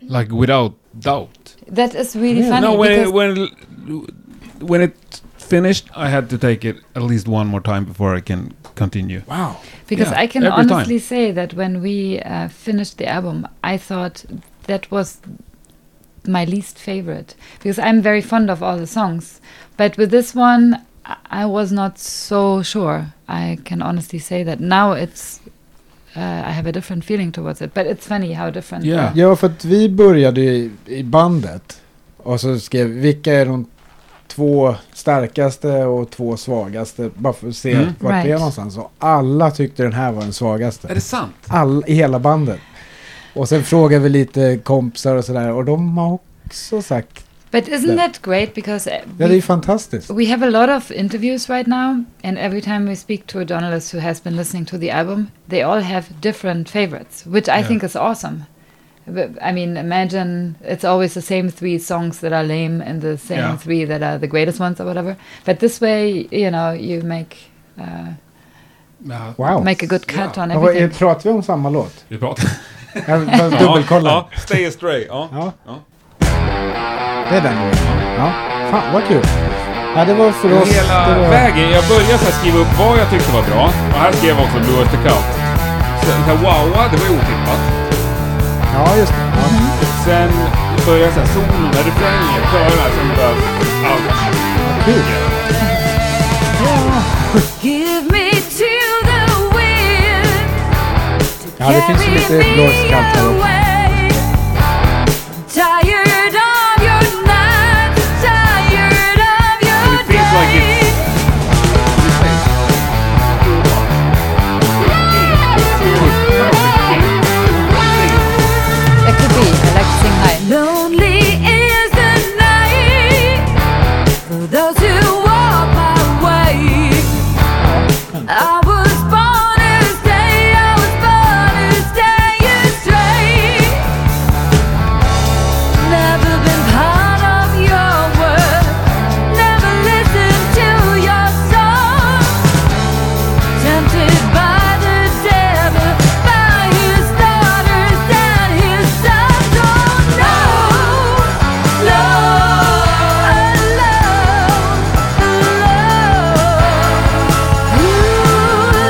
[SPEAKER 2] Like without doubt.
[SPEAKER 3] That is really
[SPEAKER 1] Yeah.
[SPEAKER 3] funny
[SPEAKER 2] No, when
[SPEAKER 3] because
[SPEAKER 2] it, when when it finished, I had to take it at least one more time before I can continue.
[SPEAKER 1] Wow.
[SPEAKER 3] Because
[SPEAKER 2] Yeah,
[SPEAKER 3] I can
[SPEAKER 2] every time.
[SPEAKER 3] honestly say that when we uh, finished the album, I thought that was my least favorite because I'm very fond of all the songs. But with this one, I- I was not so sure. I can honestly say that now it's. Uh, I have a different feeling towards it, but it's funny how different.
[SPEAKER 2] Yeah.
[SPEAKER 3] they are.
[SPEAKER 1] Ja, för att vi började i, i bandet och så skrev vi, vilka är de två starkaste och två svagaste. Bara för att se
[SPEAKER 2] Mm.
[SPEAKER 1] vart vi är
[SPEAKER 3] Right.
[SPEAKER 1] någonstans. Och alla tyckte den här var den svagaste.
[SPEAKER 2] Är det sant?
[SPEAKER 1] All, i hela bandet. Och sen frågade vi lite kompisar och sådär och de har också sagt.
[SPEAKER 3] But isn't
[SPEAKER 1] Yeah.
[SPEAKER 3] that great? Because uh,
[SPEAKER 1] Ja, det är
[SPEAKER 3] we
[SPEAKER 1] ju fantastiskt.
[SPEAKER 3] We have a lot of interviews right now, and every time we speak to a journalist who has been listening to the album, they all have different favorites, which I
[SPEAKER 2] Yeah.
[SPEAKER 3] think is awesome. But, I mean, imagine it's always the same three songs that are lame and the same
[SPEAKER 2] Yeah.
[SPEAKER 3] three that are the greatest ones or whatever. But this way, you know, you make uh,
[SPEAKER 2] Ja.
[SPEAKER 1] Wow.
[SPEAKER 3] make a good cut on
[SPEAKER 1] Men vad är-
[SPEAKER 3] Mm. everything.
[SPEAKER 1] Pratar vi om samma låt?
[SPEAKER 2] Vi pratar.
[SPEAKER 1] Jag vill bara dubbelkolla.
[SPEAKER 5] Ja, ja. Stay astray. Ja.
[SPEAKER 1] Ja.
[SPEAKER 2] Ja.
[SPEAKER 1] Det är den. Ja. Fan, vad kul. Ja, det var för oss.
[SPEAKER 5] Hela
[SPEAKER 1] det var...
[SPEAKER 5] vägen. Jag började så här skriva upp vad jag tyckte var bra. Och här skrev jag också Blue Oyster Cult. Sen så här, wow, det var ju otippat.
[SPEAKER 1] Ja, just det. Ja.
[SPEAKER 5] Sen började jag så här solona, refränger, körar. Sen alltså bara allt.
[SPEAKER 1] Kul.
[SPEAKER 4] Give me to the wind
[SPEAKER 1] Ja, det finns ju lite blåskant här också.
[SPEAKER 4] Tired of your night, tired of your
[SPEAKER 5] It feels like it's-
[SPEAKER 3] It could be. I like to sing high.
[SPEAKER 4] Lonely is the night for those who walk my way. I was born to stay, I was born to stay astray. Never been part of your world, never listened to your song. Tempted by the devil, by his daughters and his sons. Oh no, no, alone,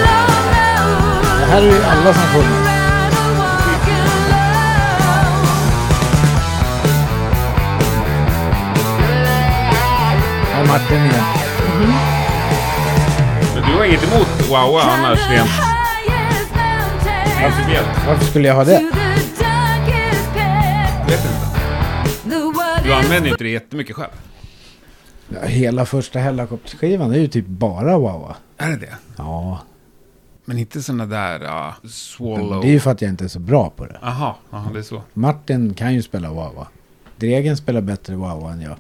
[SPEAKER 4] alone.
[SPEAKER 1] Det här är ju alla som sjunger. Ja, Martin igen.
[SPEAKER 5] Men du har inget emot wow, wow annars rent principiellt?
[SPEAKER 1] Varför skulle jag ha det?
[SPEAKER 5] Vet inte. Du använder ju inte det jättemycket själv.
[SPEAKER 1] Ja, Hela första Hellacopters-skivan är ju typ bara Wawa.
[SPEAKER 2] Är det det?
[SPEAKER 1] Ja,
[SPEAKER 2] Men inte såna där ah, swallow...
[SPEAKER 1] det är ju för att jag inte är så bra på det.
[SPEAKER 2] Aha, aha, det är så.
[SPEAKER 1] Martin kan ju spela Wawa. Dregen spelar bättre Wawa än jag.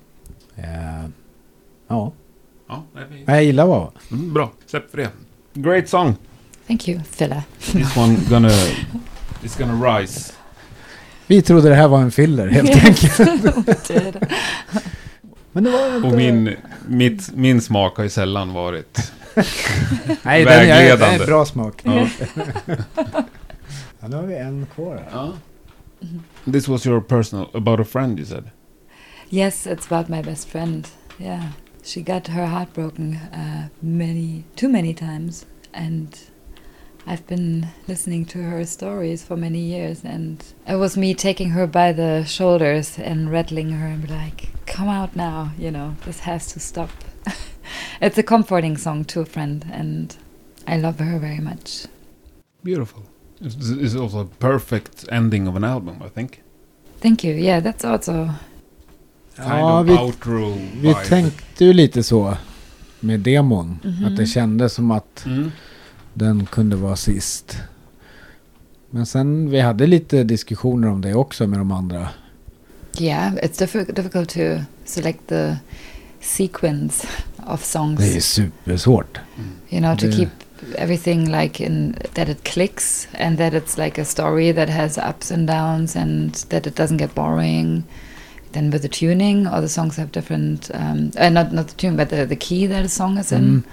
[SPEAKER 1] Eh, ja,
[SPEAKER 2] Ja, nej, vi-
[SPEAKER 1] Men jag gillar Wawa.
[SPEAKER 2] mm, bra. Släpp för det. Great song.
[SPEAKER 3] Thank you, Filla.
[SPEAKER 2] This one gonna... It's gonna rise.
[SPEAKER 1] Vi trodde det här var en filler helt enkelt. Men det var det inte.
[SPEAKER 2] Och min, mitt, min smak har ju sällan varit...
[SPEAKER 1] Nej, den är, den är
[SPEAKER 2] vägledande.
[SPEAKER 1] bra smak.
[SPEAKER 2] Ja.
[SPEAKER 1] Ja, nu har vi en kvar här.
[SPEAKER 2] Oh. This was your personal... About a friend you said.
[SPEAKER 3] Yes, it's about my best friend. Yeah, she got her heart broken uh, many, too many times, and I've been listening to her stories for many years, and it was me taking her by the shoulders and rattling her and be like, "Come out now, you know, this has to stop." it's a comforting song to a friend, and I love her very much.
[SPEAKER 2] Beautiful. It's, it's also a perfect ending of an album, I think.
[SPEAKER 3] Thank you. Yeah, that's also
[SPEAKER 2] Kind
[SPEAKER 1] Ja,
[SPEAKER 2] of
[SPEAKER 1] vi-
[SPEAKER 2] outro
[SPEAKER 1] Vi
[SPEAKER 2] vibe.
[SPEAKER 1] tänkte ju lite så med demon.
[SPEAKER 3] Mhm.
[SPEAKER 1] Att det kändes som att
[SPEAKER 2] Mm.
[SPEAKER 1] den kunde vara sist. Men sen, vi hade lite diskussioner om det också med de andra.
[SPEAKER 3] yeah. It's diffi- difficult to select the sequence of songs.
[SPEAKER 1] Det är supersvårt.
[SPEAKER 3] you know to
[SPEAKER 1] The-
[SPEAKER 3] keep everything like in that it clicks and that it's like a story that has ups and downs and that it doesn't get boring then with the tuning all the songs have different um uh, not not the tune but the, the key that a song is in
[SPEAKER 1] Mm.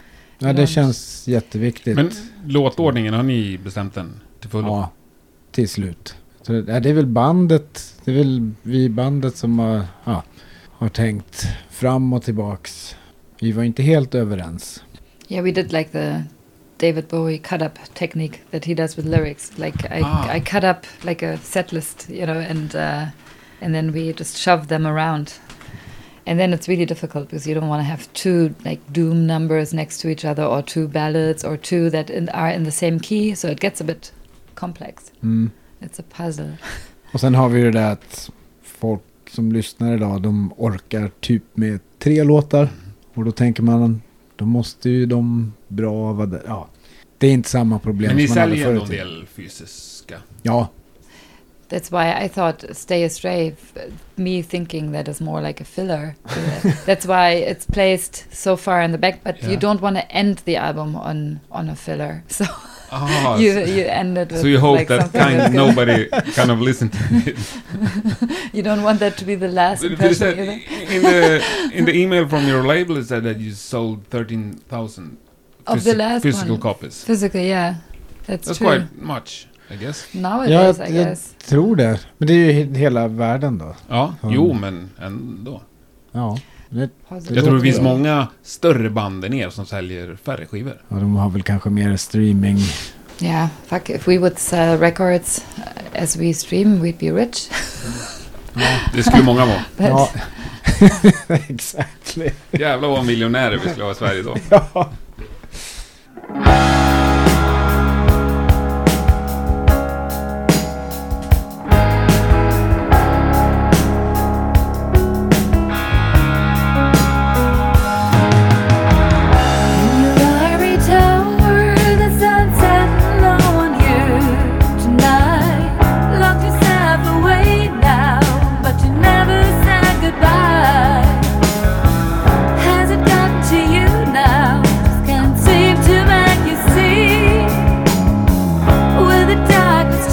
[SPEAKER 1] Ja, det
[SPEAKER 3] Ibland.
[SPEAKER 1] känns jätteviktigt.
[SPEAKER 2] Men låtordningen, har ni bestämt den till fullo?
[SPEAKER 1] Ja, till slut. Så det, ja, det är väl bandet, det är väl vi i bandet som har, ja, har tänkt fram och tillbaks. Vi var inte helt överens.
[SPEAKER 3] yeah we did like the david bowie cut up technique that he does with lyrics like i
[SPEAKER 2] Ah.
[SPEAKER 3] i cut up like a set list you know and uh and then we just shove them around and then it's really difficult because you don't want to have two like doom numbers next to each other or two ballads or two that in, are in the same key so it gets a bit complex
[SPEAKER 1] Mm.
[SPEAKER 3] it's a puzzle
[SPEAKER 1] Och sen har vi ju det där att folk som lyssnar idag, de orkar typ med tre låtar. Och då tänker man, då måste ju de bra vara där. Ja, det är inte samma problem
[SPEAKER 2] Men ni
[SPEAKER 1] som man hade
[SPEAKER 2] säljer
[SPEAKER 1] förut.
[SPEAKER 2] ändå en del fysiska.
[SPEAKER 1] Ja,
[SPEAKER 3] that's why i thought stay astray f- me thinking that is more like a filler that's why it's placed so far in the back but you
[SPEAKER 2] Yeah.
[SPEAKER 3] don't want to end the album on on a filler so
[SPEAKER 2] Ah,
[SPEAKER 3] you
[SPEAKER 2] so-
[SPEAKER 3] you end it with
[SPEAKER 2] so you hope
[SPEAKER 3] like
[SPEAKER 2] that
[SPEAKER 3] something that's
[SPEAKER 2] kind
[SPEAKER 3] gonna-
[SPEAKER 2] nobody kind of listen to it.
[SPEAKER 3] you don't want that to be the last
[SPEAKER 2] But they
[SPEAKER 3] impression
[SPEAKER 2] said
[SPEAKER 3] either.
[SPEAKER 2] in the in the email from your label it said that you sold thirteen thousand
[SPEAKER 3] Of the last
[SPEAKER 2] physical
[SPEAKER 3] one.
[SPEAKER 2] copies.
[SPEAKER 3] Physically, yeah. That's,
[SPEAKER 2] That's
[SPEAKER 3] true.
[SPEAKER 2] quite much, I guess.
[SPEAKER 3] Nowadays,
[SPEAKER 1] Yeah,
[SPEAKER 3] I
[SPEAKER 1] it-
[SPEAKER 3] guess.
[SPEAKER 1] tror det. Men det är ju he- hela världen då.
[SPEAKER 2] Ja,
[SPEAKER 1] Ja.
[SPEAKER 2] jo men ändå.
[SPEAKER 1] Ja, det,
[SPEAKER 3] Positive.
[SPEAKER 2] Jag tror det
[SPEAKER 1] låter
[SPEAKER 2] finns
[SPEAKER 1] bra.
[SPEAKER 2] många större band än er som säljer färre skivor.
[SPEAKER 1] ja, de har väl kanske mer streaming.
[SPEAKER 3] Yeah, fuck. If we would sell records uh, as we stream, we'd be rich.
[SPEAKER 2] Det skulle många vara.
[SPEAKER 3] But
[SPEAKER 1] Ja, exakt.
[SPEAKER 2] Jävlar vad miljonärer vi skulle ha i Sverige då.
[SPEAKER 1] Ja.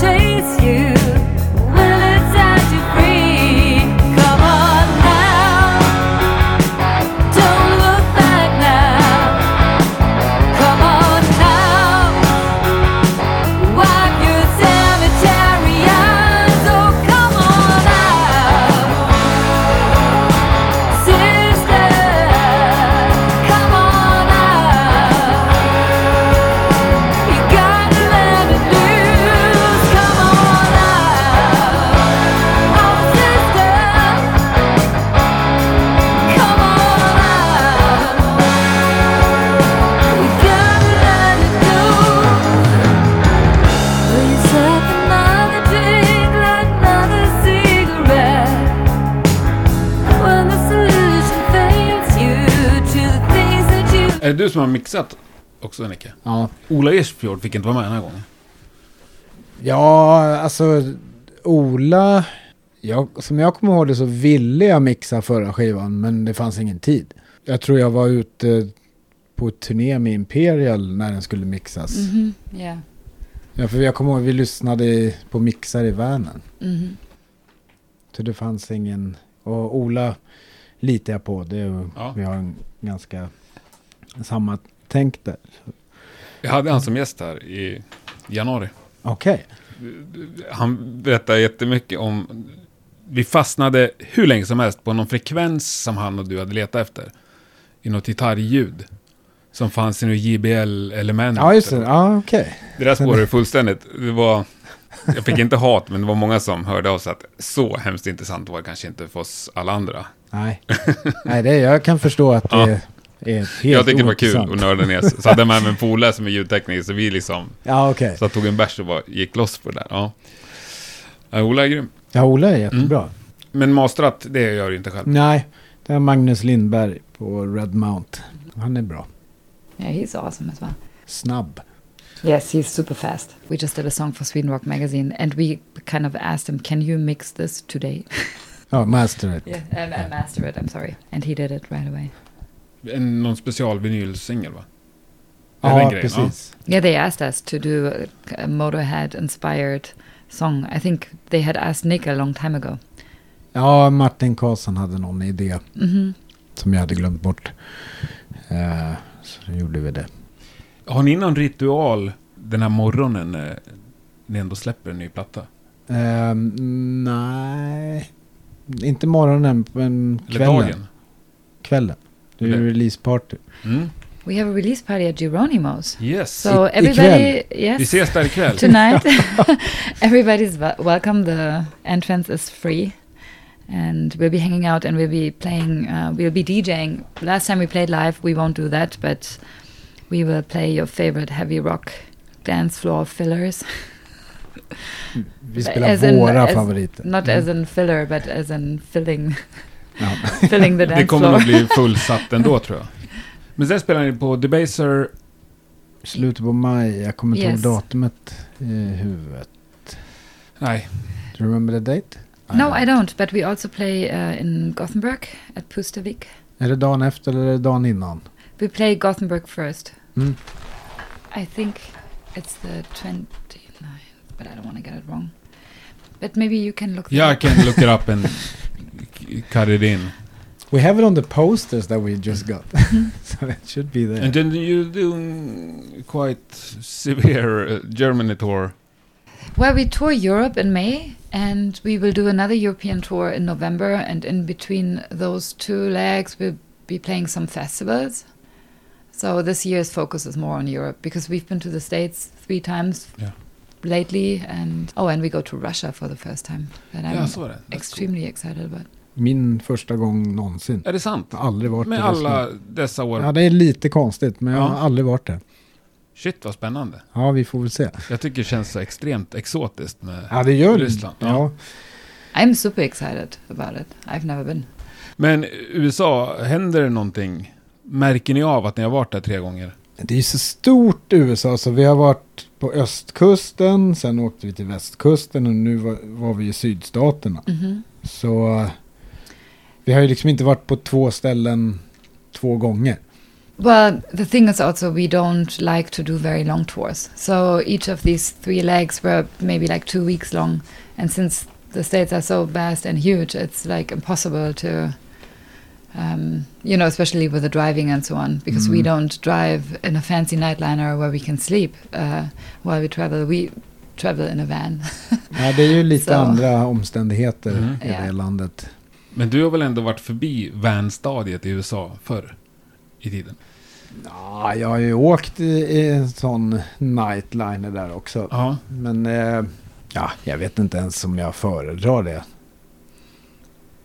[SPEAKER 4] Chase you, will it set you free? Come on now, don't look back now. Come on now, wipe your cemetery eyes. Oh, come on out, sister. Come on out, you gotta let it loose. Come on out, oh sister. Come on out. We gotta let it go. Will you suck another drink, light another cigarette? When the solution fails you to the things that you
[SPEAKER 2] Är det du som har mixat också Nicke?
[SPEAKER 1] Ja.
[SPEAKER 2] Ola Ersfjord fick inte vara med den här gången.
[SPEAKER 1] ja, alltså Ola. Jag, som jag kommer ihåg det så ville jag mixa förra skivan men det fanns ingen tid. Jag tror jag var ute på turné med Imperial när den skulle mixas.
[SPEAKER 3] Mhm, yeah.
[SPEAKER 1] Ja, för jag kommer ihåg vi lyssnade i- på mixar i vanen.
[SPEAKER 3] Mhm.
[SPEAKER 1] Så det fanns ingen... Och Ola litar jag på. Det är,
[SPEAKER 2] Ja.
[SPEAKER 1] Vi har en ganska samma tänk där.
[SPEAKER 2] Jag hade han som gäst här i januari.
[SPEAKER 1] Okej.
[SPEAKER 2] Han berättade jättemycket om... Vi fastnade hur länge som helst på någon frekvens som han och du hade letat efter. I något gitarrljud. som fanns i något JBL-element.
[SPEAKER 1] Ja, just det. Ja, okej.
[SPEAKER 2] Det där spårar ju fullständigt. Det var, jag fick inte hat, men det var många som hörde av sig att så hemskt intressant var det kanske inte för oss alla andra.
[SPEAKER 1] Nej, Nej det, jag kan förstå att det är helt
[SPEAKER 2] jag tyckte det var kul
[SPEAKER 1] ointressant.
[SPEAKER 2] att nörda ner sig. Så hade jag med mig en polare som är ljudtekniker, så vi liksom
[SPEAKER 1] Ja, okej.
[SPEAKER 2] så jag tog en bärs och bara gick loss på det där. Ja. Ja, Ola är grym.
[SPEAKER 1] Ja, Ola är jättebra.
[SPEAKER 2] Men mastrat, det gör du inte själv.
[SPEAKER 1] Mm. Nej, det är Magnus Lindberg på Red Mount. Han är bra.
[SPEAKER 3] Yeah, he's awesome as well.
[SPEAKER 1] Snabb.
[SPEAKER 3] Yes, he's super fast. We just did a song for Sweden Rock magazine and we kind of asked him, can you mix this today?
[SPEAKER 1] Ja, master it.
[SPEAKER 3] Yeah, um, and master it, I'm sorry. And he did it right away.
[SPEAKER 2] En, någon special vinylsingel va? Eller en
[SPEAKER 1] Ja,
[SPEAKER 2] grej,
[SPEAKER 1] precis.
[SPEAKER 3] Yeah, they asked us to do a, a Motorhead inspired song. I think they had asked Nick a long time ago.
[SPEAKER 1] Ja, Martin Karlsson hade någon idé
[SPEAKER 3] hmm
[SPEAKER 1] som jag hade glömt bort. Eh, så då gjorde vi det.
[SPEAKER 2] Har ni någon ritual den här morgonen när ni ändå släpper en ny platta?
[SPEAKER 1] Eh, nej, inte morgonen, men
[SPEAKER 2] Eller
[SPEAKER 1] kvällen.
[SPEAKER 2] dagen?
[SPEAKER 1] Kvällen. Det är ju
[SPEAKER 2] Eller-
[SPEAKER 1] releaseparty.
[SPEAKER 2] Mm.
[SPEAKER 3] We have a release party at Geronimo's.
[SPEAKER 2] Yes.
[SPEAKER 3] So
[SPEAKER 1] I-
[SPEAKER 3] everybody,
[SPEAKER 2] Vi
[SPEAKER 3] yes,
[SPEAKER 2] ses där ikväll.
[SPEAKER 3] tonight, everybody's wel- welcome. The entrance is free, and we'll be hanging out and we'll be playing. Uh, we'll be DJing. Last time we played live, we won't do that, but we will play your favorite heavy rock dance floor fillers.
[SPEAKER 1] Vi spelar
[SPEAKER 3] As in-
[SPEAKER 1] våra
[SPEAKER 3] as-
[SPEAKER 1] favoriter. Mm.
[SPEAKER 3] Not as in filler, but as in filling,
[SPEAKER 1] Ja.
[SPEAKER 3] filling the
[SPEAKER 2] Det
[SPEAKER 3] dance
[SPEAKER 2] kommer
[SPEAKER 3] floor.
[SPEAKER 2] nog bli fullsatt ändå tror jag. Men sen spelar ni på Debaser.
[SPEAKER 1] Slutet på maj, jag kommer inte
[SPEAKER 3] Yes.
[SPEAKER 1] ihåg datumet i huvudet.
[SPEAKER 2] Nej,
[SPEAKER 1] Do you remember the date?
[SPEAKER 3] No, I don't. But we also play uh, in Gothenburg at Pustavik.
[SPEAKER 1] Är det dagen efter eller är det dagen innan?
[SPEAKER 3] We play Gothenburg first.
[SPEAKER 2] Hmm.
[SPEAKER 1] Mm.
[SPEAKER 3] I think it's the 29th, but I don't want to get it wrong. But maybe you can look that
[SPEAKER 2] jag
[SPEAKER 3] up.
[SPEAKER 2] kan look it up and cut it in.
[SPEAKER 1] We have it on the posters that we just got.
[SPEAKER 3] Mm.
[SPEAKER 1] so it should be there.
[SPEAKER 2] And then you're doing quite severe uh, Germany tour.
[SPEAKER 3] Well, we tour Europe in May and we will do another European tour in November. And in between those two legs, we'll be playing some festivals. So this year's focus is more on Europe because we've been to the States three times
[SPEAKER 2] Yeah.
[SPEAKER 3] lately. And oh, and we go to Russia for the first time. That
[SPEAKER 2] Ja,
[SPEAKER 3] I'm
[SPEAKER 2] jag såg det. That's cool.
[SPEAKER 3] extremely excited about.
[SPEAKER 1] Min första gång någonsin.
[SPEAKER 2] Är det sant?
[SPEAKER 1] Jag har aldrig varit
[SPEAKER 2] Med
[SPEAKER 1] i Ryssland.
[SPEAKER 2] alla dessa år.
[SPEAKER 1] Ja, det är lite konstigt, men jag
[SPEAKER 2] Ja.
[SPEAKER 1] har aldrig varit där.
[SPEAKER 2] Shit vad spännande.
[SPEAKER 1] Ja, vi får väl se.
[SPEAKER 2] Jag tycker det känns så extremt exotiskt med...
[SPEAKER 1] Ja, det gör
[SPEAKER 2] Ryssland, ja.
[SPEAKER 1] Ja. Ja.
[SPEAKER 3] I'm super excited about it. I've never been.
[SPEAKER 2] Men USA, händer det någonting? Märker ni av att ni har varit där tre gånger?
[SPEAKER 1] Det är ju så stort USA, så vi har varit på östkusten, sen åkte vi till västkusten och nu var, var vi i sydstaterna.
[SPEAKER 2] Mm-hmm.
[SPEAKER 3] Mhm.
[SPEAKER 1] Så eh, vi har ju liksom inte varit på två ställen två gånger.
[SPEAKER 3] Well, the thing is also we don't like to do very long tours. So each of these three legs were maybe like two weeks long. And since the states are so vast and huge, it's like impossible to, um, you know, especially with the driving and so on, because we
[SPEAKER 2] Mm-hmm.
[SPEAKER 1] Mhm.
[SPEAKER 3] don't drive in a fancy nightliner where we can sleep uh, while we travel. We travel in a van.
[SPEAKER 1] Ja, det är ju lite
[SPEAKER 3] Så.
[SPEAKER 1] andra omständigheter
[SPEAKER 2] Mm.
[SPEAKER 1] i
[SPEAKER 3] Ja.
[SPEAKER 1] det landet.
[SPEAKER 2] Men du har väl ändå varit förbi vanstadiet i USA förr i tiden?
[SPEAKER 1] Ja, jag har ju åkt i, i en sån nightliner där också.
[SPEAKER 2] Ja.
[SPEAKER 1] Men eh, ja, jag vet inte ens om jag föredrar det.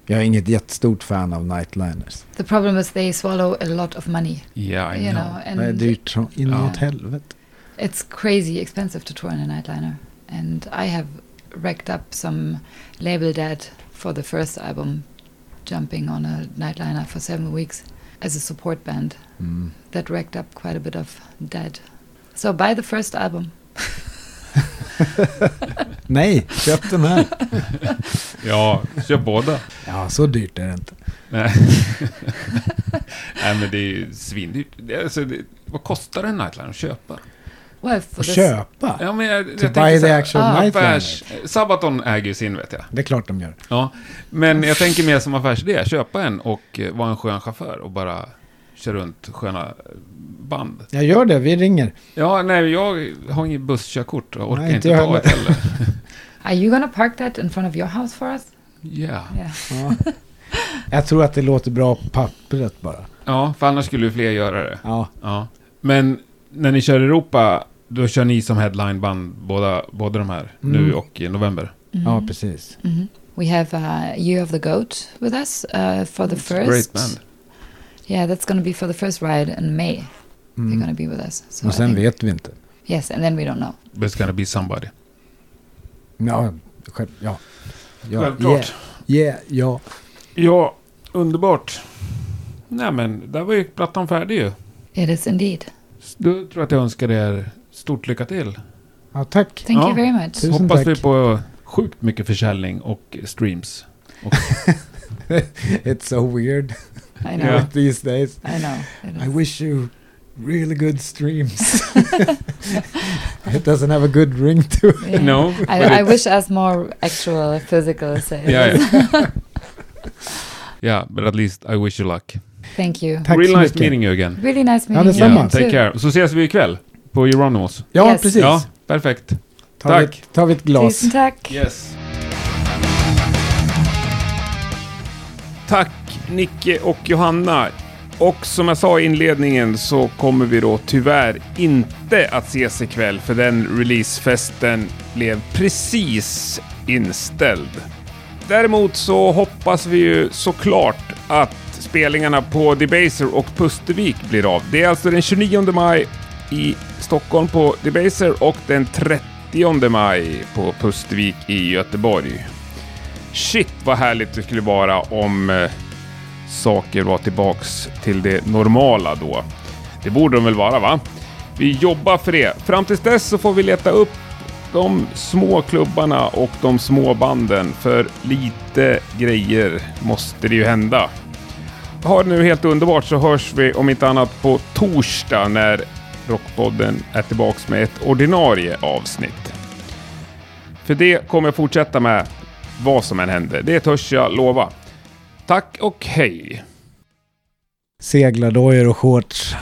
[SPEAKER 1] Jag är inget jättestort fan av nightliners.
[SPEAKER 3] the problem is they swallow a lot of money,
[SPEAKER 2] Yeah, I
[SPEAKER 3] you
[SPEAKER 2] know.
[SPEAKER 3] know.
[SPEAKER 1] Det är dyrt så inåt
[SPEAKER 3] Ja.
[SPEAKER 1] helvete.
[SPEAKER 3] It's crazy expensive to tour in a nightliner, and I have racked up some label debt for the first album, jumping on a nightliner for seven weeks as a support band.
[SPEAKER 1] Mm.
[SPEAKER 3] That racked up quite a bit of debt. So buy the first album.
[SPEAKER 1] Nej, köp den här.
[SPEAKER 2] Ja, kör båda.
[SPEAKER 1] Ja, så dyrt är det inte.
[SPEAKER 2] Nej. Nej, men det är ju svindyrt. Det- Alltså, det, vad kostar en nightliner att köpa?
[SPEAKER 3] Well, for
[SPEAKER 1] Och
[SPEAKER 3] this,
[SPEAKER 1] köpa.
[SPEAKER 2] Ja, men jag, jag
[SPEAKER 1] To
[SPEAKER 2] tänker
[SPEAKER 1] buy
[SPEAKER 2] så
[SPEAKER 1] the
[SPEAKER 2] här,
[SPEAKER 1] actual
[SPEAKER 3] ah,
[SPEAKER 2] Affärs...
[SPEAKER 1] nightliner.
[SPEAKER 2] Sabaton äger ju sin, vet jag.
[SPEAKER 1] Det är klart de gör.
[SPEAKER 2] Ja. Men jag tänker mer som affärsidé, köpa en och eh, vara en skön chaufför och bara köra runt sköna eh, band.
[SPEAKER 1] Jag gör det, vi ringer.
[SPEAKER 2] Ja, nej, jag har inget busskörkort och orkar
[SPEAKER 1] Nej, inte
[SPEAKER 2] inte
[SPEAKER 1] jag
[SPEAKER 2] ta ett heller.
[SPEAKER 3] are you gonna park that in front of your house for us?
[SPEAKER 2] Ja.
[SPEAKER 3] Yeah.
[SPEAKER 1] Ja. Jag tror att det låter bra på pappret bara.
[SPEAKER 2] ja, för annars skulle ju fler göra det.
[SPEAKER 1] Ja,
[SPEAKER 2] Ja. Men när ni kör Europa, då kör ni som headlineband båda, båda de här, nu
[SPEAKER 1] Mm.
[SPEAKER 2] och i november.
[SPEAKER 1] Ja, precis.
[SPEAKER 3] Mhm. We have uh, Year of the Goat with us uh, for the first.
[SPEAKER 2] Great band.
[SPEAKER 3] Yeah, that's going to be for the first ride in May. They're
[SPEAKER 1] Mm.
[SPEAKER 3] going to be with us. So
[SPEAKER 1] Och
[SPEAKER 3] I
[SPEAKER 1] sen
[SPEAKER 3] think-
[SPEAKER 1] vet vi inte.
[SPEAKER 3] Yes, and then we don't know.
[SPEAKER 2] But it's gonna be somebody.
[SPEAKER 1] Ja, själv, ja. ja.
[SPEAKER 2] Självklart.
[SPEAKER 1] Yeah, yeah, ja.
[SPEAKER 2] Ja, underbart. Nej men, där var ju plattan färdig ju.
[SPEAKER 3] It is indeed.
[SPEAKER 2] S- Då tror jag att jag önskar er stort lycka till.
[SPEAKER 1] ja, tack.
[SPEAKER 3] Thank
[SPEAKER 2] Ja.
[SPEAKER 3] you very much.
[SPEAKER 1] Tusen
[SPEAKER 2] Hoppas
[SPEAKER 1] tack.
[SPEAKER 2] vi på sjukt mycket försäljning och streams.
[SPEAKER 1] It's so weird
[SPEAKER 3] I know.
[SPEAKER 5] Yeah.
[SPEAKER 1] these days.
[SPEAKER 3] I know. It
[SPEAKER 1] I
[SPEAKER 3] is.
[SPEAKER 1] wish you really good streams. It doesn't have a good ring to it.
[SPEAKER 3] Yeah.
[SPEAKER 5] No, but
[SPEAKER 3] I, I wish us more actual physical sales.
[SPEAKER 2] Ja, ja. Ja, but at least I wish you luck.
[SPEAKER 3] Thank you.
[SPEAKER 1] Tack så
[SPEAKER 2] Real nice
[SPEAKER 1] mycket.
[SPEAKER 2] meeting you again.
[SPEAKER 3] Really nice
[SPEAKER 1] Ja,
[SPEAKER 3] meeting you.
[SPEAKER 1] detsamma.
[SPEAKER 2] Yeah,
[SPEAKER 1] Samma.
[SPEAKER 2] take care. Så ses vi ikväll på Euronymous.
[SPEAKER 1] Ja,
[SPEAKER 3] Yes.
[SPEAKER 1] precis.
[SPEAKER 2] Ja, perfekt.
[SPEAKER 1] tar, vi,
[SPEAKER 2] tack.
[SPEAKER 1] ett- tar vi ett glas.
[SPEAKER 3] Tusen tack.
[SPEAKER 2] Yes.
[SPEAKER 5] Tack Nicke och Johanna. Och som jag sa i inledningen så kommer vi då tyvärr inte att ses ikväll för den releasefesten blev precis inställd. Däremot så hoppas vi ju såklart att spelningarna på Debaser och Pustervik blir av. Det är alltså den 29 maj i Stockholm på Debaser och den 30 maj på Pustervik i Göteborg. Shit vad härligt det skulle vara om eh, saker var tillbaks till det normala då. Det borde de väl vara va? Vi jobbar för det. Fram tills dess så får vi leta upp de små klubbarna och de små banden för lite grejer måste det ju hända. Ha det nu helt underbart så hörs vi om inte annat på torsdag när Rockpodden är tillbaks med ett ordinarie avsnitt. För det kommer jag fortsätta med vad som än händer. Det törs jag lova. Tack och hej!
[SPEAKER 1] Seglardojor och shorts.